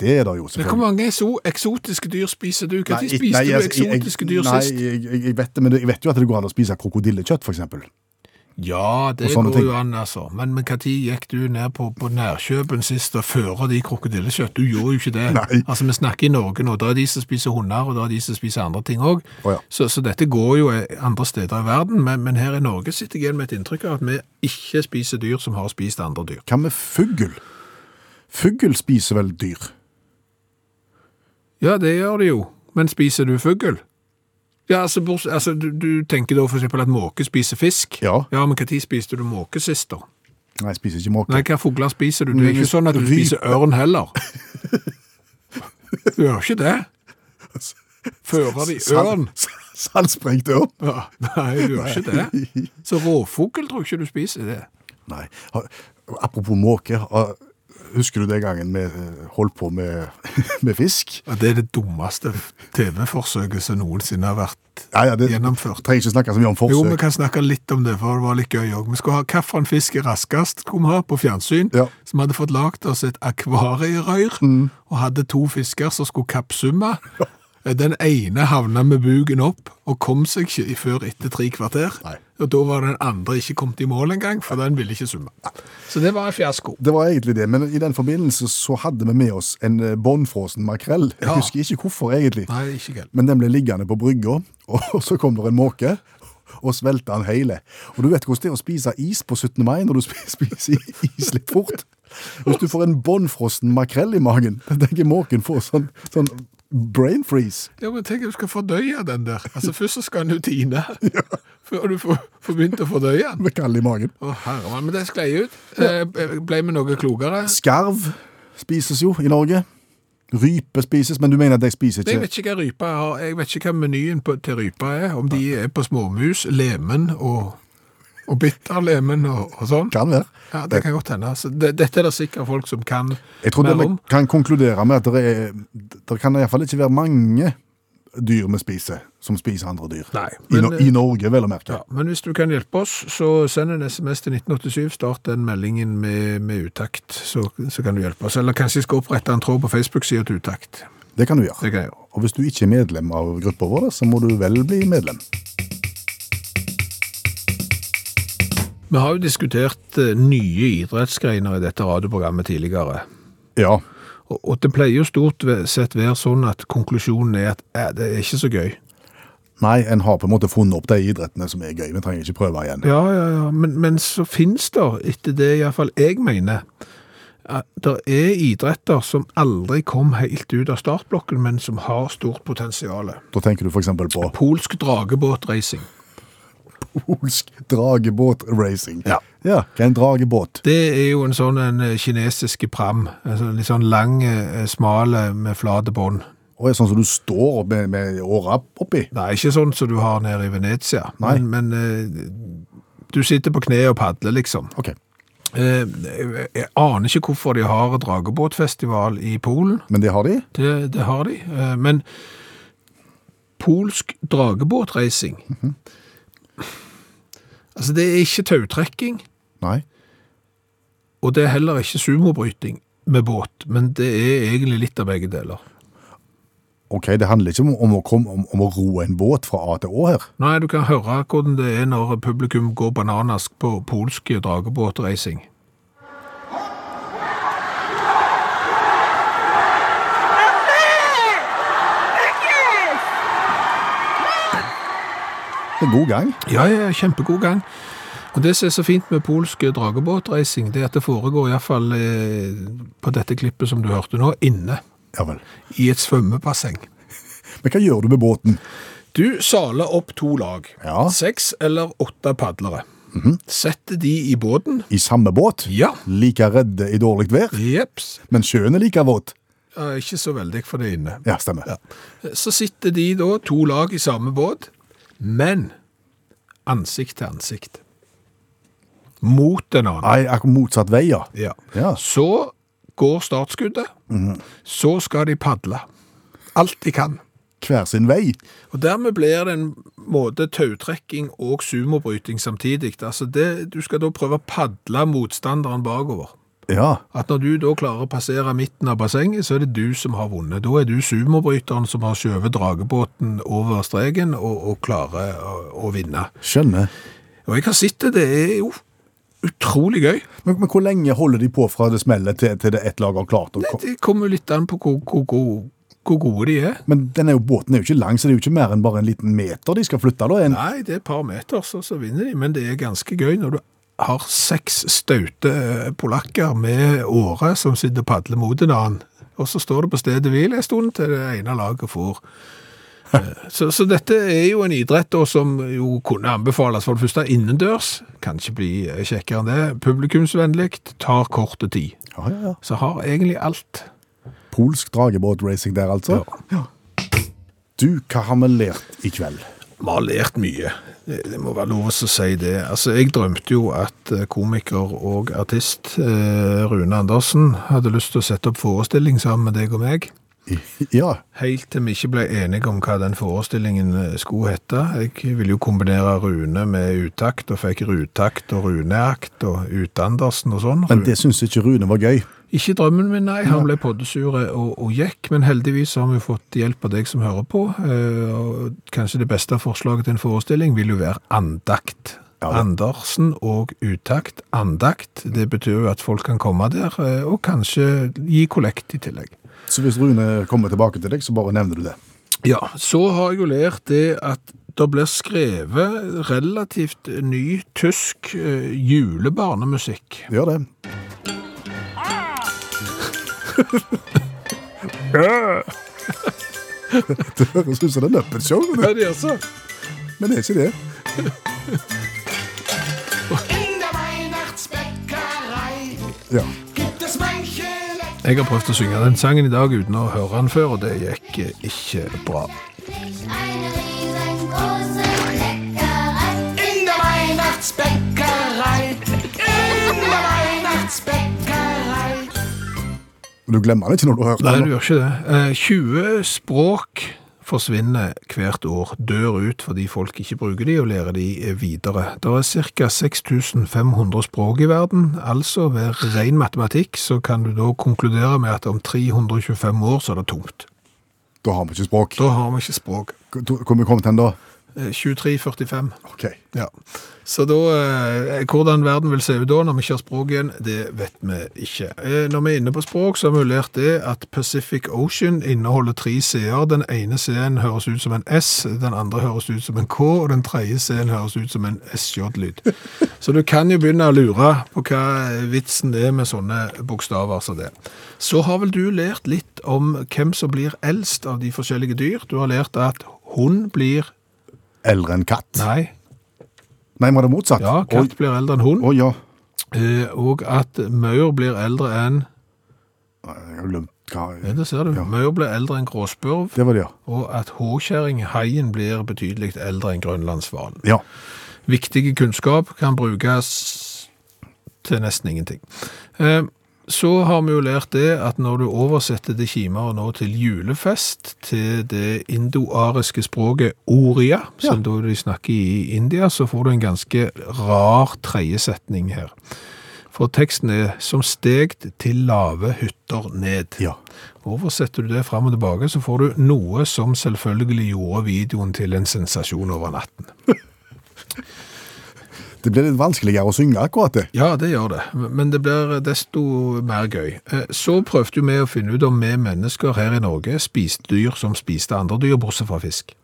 Speaker 3: Det er det jo,
Speaker 2: Men Hvor
Speaker 3: selvfølgelig.
Speaker 2: mange so eksotiske dyr spiser du? Når
Speaker 3: Nei,
Speaker 2: spiste
Speaker 3: nei,
Speaker 2: du
Speaker 3: altså,
Speaker 2: eksotiske dyr
Speaker 3: nei,
Speaker 2: sist?
Speaker 3: Jeg, jeg, jeg, vet det, men jeg vet jo at det går an å spise krokodillekjøtt, for eksempel.
Speaker 2: Ja, det
Speaker 3: Og
Speaker 2: går
Speaker 3: sånne ting.
Speaker 2: jo an, altså. Men men hva tid gikk du ned på, på nærkjøpen sist og fører de krokodillekjøtt? Du gjorde jo ikke det.
Speaker 3: Nei.
Speaker 2: Altså, vi snakker i Norge nå. Da er de som spiser hunder, og da er de som spiser andre ting òg.
Speaker 3: Å ja.
Speaker 2: så, så dette går jo eh, andre steder i verden, men, men her i Norge sitter jeg igjen med et inntrykk av at vi ikke spiser dyr som har spist andre dyr.
Speaker 3: Hva med fugl? Fugl spiser vel dyr?
Speaker 2: Ja, det gjør det jo. Men spiser du fugl? Ja, altså, bors- altså du, du tenker da for eksempel at måke spiser fisk.
Speaker 3: Ja.
Speaker 2: Ja, men hva tid spiste du måke sist, da?
Speaker 3: Nei, spiser ikke måke.
Speaker 2: Nei, hva fugler spiser du? Det er
Speaker 3: Men
Speaker 2: ikke sånn at du
Speaker 3: rype-
Speaker 2: spiser ørn heller. Du gjør ikke det. Fører de ørn?
Speaker 3: Saltsprengt ørn?
Speaker 2: Ja, nei, du gjør ikke det. Så rovfugl tror jeg ikke du spiser det.
Speaker 3: Nei. Ha- Apropos måke, ha- husker du den gangen vi eh, holdt på med, med fisk?
Speaker 2: Ja, det er det dummeste TV-forsøket som noensinne har vært
Speaker 3: Ja, ja, det
Speaker 2: gjennomført.
Speaker 3: trenger ikke snakke så mye om forsøk.
Speaker 2: Jo, vi kan snakke litt om det, for det var litt gøy òg. Vi skulle ha hvilken fisk er raskest, skulle vi ha på fjernsyn.
Speaker 3: Ja. Mm.
Speaker 2: Så vi hadde fått lagd oss et akvarierøyr, og hadde to fisker som skulle kappsumme. Den ene havna med buken opp, og kom seg ikke i- før etter tre kvarter.
Speaker 3: Nei.
Speaker 2: Og da var den andre ikke kommet i mål engang, for den ville ikke summe. Så det var en fiasko.
Speaker 3: Det var egentlig det, men i den forbindelse så hadde vi med oss en eh, bånnfrosen makrell. Jeg
Speaker 2: Ja.
Speaker 3: husker ikke hvorfor, egentlig.
Speaker 2: Nei, ikke galt.
Speaker 3: Men den ble liggende på brygga, og så kom det en måke. Og svelta han hele. Og du vet hvordan det er å spise is på 17. mai når du spi- spiser is litt fort. Hvis du får en bånnfrossen makrell i magen, da tenker jeg måken får sånn, sånn brain freeze.
Speaker 2: Ja, men tenk at du skal fordøye den der. Altså, først så skal den jo tine, før du får, får begynt å fordøye den.
Speaker 3: Med kall i magen.
Speaker 2: Å, herremann, men det sklei ut. Eh, Ble vi noe klokere?
Speaker 3: Skarv spises jo i Norge. Rype spises, men du mener at jeg spiser
Speaker 2: Jeg
Speaker 3: ikke
Speaker 2: vet ikke hva rypa har. Jeg vet ikke hva menyen på, til rypa er. Om de er på småmus, lemen og, og bitterlemen og, og sånn.
Speaker 3: Kan være.
Speaker 2: Ja, Det kan godt hende. Så det, dette er det sikkert folk som kan
Speaker 3: Jeg tror det
Speaker 2: mer
Speaker 3: vi
Speaker 2: om.
Speaker 3: kan konkludere med at det, er, det kan i hvert fall ikke være mange dyr vi spiser, som spiser andre dyr.
Speaker 2: Nei,
Speaker 3: I,
Speaker 2: men, eh,
Speaker 3: no, I Norge, vel å merke.
Speaker 2: Ja, men hvis du kan hjelpe oss, så send en SMS til 1987. Start den meldingen med, med utakt, så, så kan du hjelpe oss. Eller kanskje jeg skal opprette en tråd på Facebook-sida til utakt.
Speaker 3: Det kan du gjøre.
Speaker 2: Det kan jeg gjøre.
Speaker 3: Og hvis du ikke er medlem av gruppa vår, så må du vel bli medlem.
Speaker 2: Vi har jo diskutert eh, nye idrettsgreiner i dette radioprogrammet tidligere.
Speaker 3: Ja,
Speaker 2: Og, og det pleier jo stort ve- sett være sånn at konklusjonen er at eh, det er ikke så gøy.
Speaker 3: nei, en har på en måte funnet opp de idrettene som er gøy. Vi trenger ikke prøve igjen.
Speaker 2: Ja, ja, ja, men, men så finnes det, etter det iallfall jeg mener, at det er idretter som aldri kom helt ut av startblokken, men som har stort potensial.
Speaker 3: Da tenker du f.eks. på
Speaker 2: Polsk dragebåtracing.
Speaker 3: polsk dragebåtracing.
Speaker 2: Ja.
Speaker 3: ja, hva er en dragebåt?
Speaker 2: Det er jo en sånn en eh, kinesiske pram. Altså litt sånn lang, eh, smal eh, med flate bånd.
Speaker 3: Og er sånn som du står med, med åra oppi.
Speaker 2: Nei, ikke sånn som du har nede i Venezia.
Speaker 3: Nei.
Speaker 2: Men, men eh, du sitter på kne og padler, liksom.
Speaker 3: Ok,
Speaker 2: Eh, Jeg jeg aner ikke hvorfor de har dragebåtfestival i Polen.
Speaker 3: Men det har de?
Speaker 2: Det, det har de. Eh, Men polsk dragebåtracing Altså, det er ikke tautrekking,
Speaker 3: Nei.
Speaker 2: og det er heller ikke sumobryting med båt, men det er egentlig litt av begge deler.
Speaker 3: Ok, det handler ikke om, om, å, komme, om, om å ro en båt fra A til Å her.
Speaker 2: Nei, du kan høre hvordan det er når publikum går bananas på polsk dragebåtracing.
Speaker 3: Det er god gang.
Speaker 2: Ja, ja, kjempegod gang. Og det som er så fint med polsk dragebåtreising, det er at det foregår iallfall eh, på dette klippet som du hørte nå, inne
Speaker 3: Ja vel.
Speaker 2: i et svømmebasseng.
Speaker 3: Men hva gjør du med båten?
Speaker 2: Du saler opp to lag,
Speaker 3: Ja.
Speaker 2: seks eller åtte padlere. Setter de i båten.
Speaker 3: I samme båt?
Speaker 2: Ja.
Speaker 3: Like redde i dårlig vær?
Speaker 2: Jeps.
Speaker 3: Men sjøen er like våt?
Speaker 2: Ja, ikke så veldig, for det er inne.
Speaker 3: Ja, stemmer.
Speaker 2: Så sitter de da, to lag i samme båt, men ansikt til ansikt. Mot den annen.
Speaker 3: Nei, akkurat motsatt vei, ja.
Speaker 2: Ja.
Speaker 3: Ja.
Speaker 2: Så går startskuddet, så skal de padle. Alt de kan.
Speaker 3: Hver sin vei.
Speaker 2: Og dermed blir det en måte tautrekking og sumobryting samtidig. Altså det, du skal da prøve å padle motstanderen bakover.
Speaker 3: Ja.
Speaker 2: At når du da klarer å passere midten av bassenget, så er det du som har vunnet. Da er du sumobryteren som har skjøvet dragebåten over streken og, og klarer å, å vinne.
Speaker 3: Skjønner.
Speaker 2: Og jeg har sett det, det er jo utrolig gøy.
Speaker 3: Men, men hvor lenge holder de på fra det smeller til, til det ett lag har klart? å
Speaker 2: Det,
Speaker 3: ko-
Speaker 2: det kommer jo litt an på hvor, hvor, hvor, hvor gode de er.
Speaker 3: Men den er jo, båten er jo ikke lang, så det er jo ikke mer enn bare en liten meter de skal flytte. da. En,
Speaker 2: Nei, det er et par meter, så, så vinner de. Men det er ganske gøy når du har seks staute eh, polakker med åre som sitter og padler mot en annen. Og så står det på stedet hvil en stund til det ene laget får. Eh, Så, så dette er jo en idrett da, som jo kunne anbefales for det første innendørs. Kan ikke bli eh, kjekkere enn det. Publikumsvennlig, tar korte tid.
Speaker 3: ja, ja, ja.
Speaker 2: Så har egentlig alt.
Speaker 3: Polsk dragebåtracing der, altså. Ja. Du, hva har vi lært i kveld?
Speaker 2: Vi har lært mye. Det det må være lov å si det. Altså, jeg drømte jo at eh, komiker og artist eh, Rune Andersen hadde lyst til å sette opp forestilling sammen med deg og meg.
Speaker 3: Ja,
Speaker 2: Helt til vi ikke ble enige om hva den forestillingen eh, skulle hete. Jeg ville jo kombinere Rune med utakt, og fikk Rutakt og Runeakt og Utandersen og sånn.
Speaker 3: men det syns ikke Rune var gøy.
Speaker 2: Ikke drømmen min, nei. Han ble poddesure og, og gikk, men heldigvis har vi jo fått hjelp av deg som hører på. Eh, og kanskje det beste forslaget til en forestilling vil jo være andakt.
Speaker 3: Ja.
Speaker 2: Andersen og utakt. Andakt, det betyr jo at folk kan komme der, eh, og kanskje gi kollekt i tillegg.
Speaker 3: Så hvis Rune kommer tilbake til deg, så bare nevner du det.
Speaker 2: Ja, så har jeg jo lært det at det blir skrevet relativt ny tysk eh, julebarnemusikk.
Speaker 3: Gjør det.
Speaker 2: Ah!
Speaker 3: det høres ut som det er Muppet Show, men
Speaker 2: Hva er det altså?
Speaker 3: det er ikke det.
Speaker 5: In der Weihnachtsbäckerei
Speaker 3: Ja.
Speaker 5: gibt es manche Leck-
Speaker 2: Jeg har prøvd å synge den sangen i dag uten å høre den før, og det gikk eh, ikke bra.
Speaker 7: Eine riesengroße Leckerei.
Speaker 5: In der Weihnachtsbäckerei. In der Weihnachtsbäckerei.
Speaker 3: Men du glemmer det ikke når du har hørt
Speaker 2: Nei,
Speaker 3: det.
Speaker 2: du gjør ikke det. Eh, 20 språk forsvinner hvert år, dør ut fordi folk ikke bruker de og lærer de eh, videre. Det er ca. 6500 språk i verden, altså ved ren matematikk så kan du da konkludere med at om 325 år så er det tomt.
Speaker 3: Da har vi ikke språk.
Speaker 2: Da har vi ikke språk.
Speaker 3: Hvor vi kommet hen da?
Speaker 2: Eh, 2345.
Speaker 3: Ok.
Speaker 2: Ja. Så da, eh, hvordan verden vil se ut da når vi ikke har språk igjen, det vet vi ikke. Eh, Når vi er inne på språk, så har vi jo lært det at Pacific Ocean inneholder tre C-er. Den ene C-en høres ut som en S, den andre høres ut som en K, og den tredje C-en høres ut som en SJ-lyd. Så du kan jo begynne å lure på hva vitsen er med sånne bokstaver som det. Så har vel du lært litt om hvem som blir eldst av de forskjellige dyr. Du har lært at hund blir
Speaker 3: Eldre enn katt. Nei,
Speaker 2: Nei,
Speaker 3: var det motsatt?
Speaker 2: ja, katt blir eldre enn hund.
Speaker 3: Å ja.
Speaker 2: Eh, og at maur blir eldre enn
Speaker 3: Nei, Jeg har glemt hva
Speaker 2: Ja, det ser du. Maur blir eldre enn gråspurv.
Speaker 3: Det var det, ja.
Speaker 2: Og at håkjerring, haien, blir betydelig eldre enn grønlandshvalen.
Speaker 3: Ja.
Speaker 2: Viktige kunnskap kan brukes til nesten ingenting. Eh, Så har vi jo lært det at når du oversetter det kimer nå til julefest, til det indoariske språket oria, som da de snakker i India, så får du en ganske rar tredjesetning her. For teksten er som stegt til lave hytter ned.
Speaker 3: Ja.
Speaker 2: Oversetter du det frem og tilbake, så får du noe som selvfølgelig gjorde videoen til en sensasjon over natten.
Speaker 3: Det blir litt vanskeligere å synge akkurat det.
Speaker 2: Ja, det gjør det, men det blir desto mer gøy. Eh, Så prøvde jo vi å finne ut om vi mennesker her i Norge spiste dyr som spiste andre dyr, bortsett fra fisk.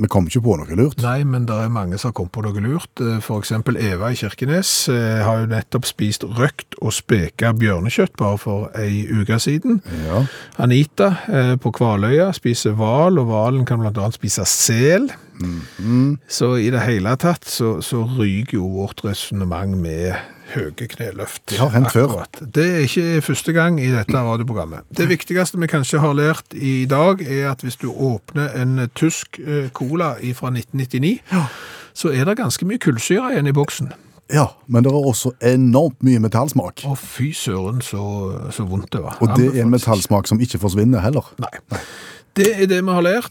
Speaker 3: vi kom ikke på noe lurt.
Speaker 2: Nei, men det er mange som har kommet på noe lurt. Eh, For eksempel Eva i Kirkenes eh, har jo nettopp spist røkt og speka bjørnekjøtt bare for ei uke siden.
Speaker 3: Ja.
Speaker 2: Anita eh, på Kvaløya spiser hval, og hvalen kan blant annet spise sel. Så i det hele tatt så, så ryker jo vårt resonnement med høye kneløft.
Speaker 3: Det har hendt før.
Speaker 2: Akkurat. Det er ikke første gang i dette radioprogrammet. Det viktigste vi kanskje har lært i dag, er at hvis du åpner en tysk eh, cola fra 1999, så er det ganske mye kullsyre igjen i boksen.
Speaker 3: ja, men det er også enormt mye metallsmak.
Speaker 2: Å, fy søren, så, så vondt det var.
Speaker 3: Og det
Speaker 2: Anbefales
Speaker 3: er en
Speaker 2: ikke.
Speaker 3: metallsmak som ikke forsvinner heller.
Speaker 2: Nei. Det er det vi har lært.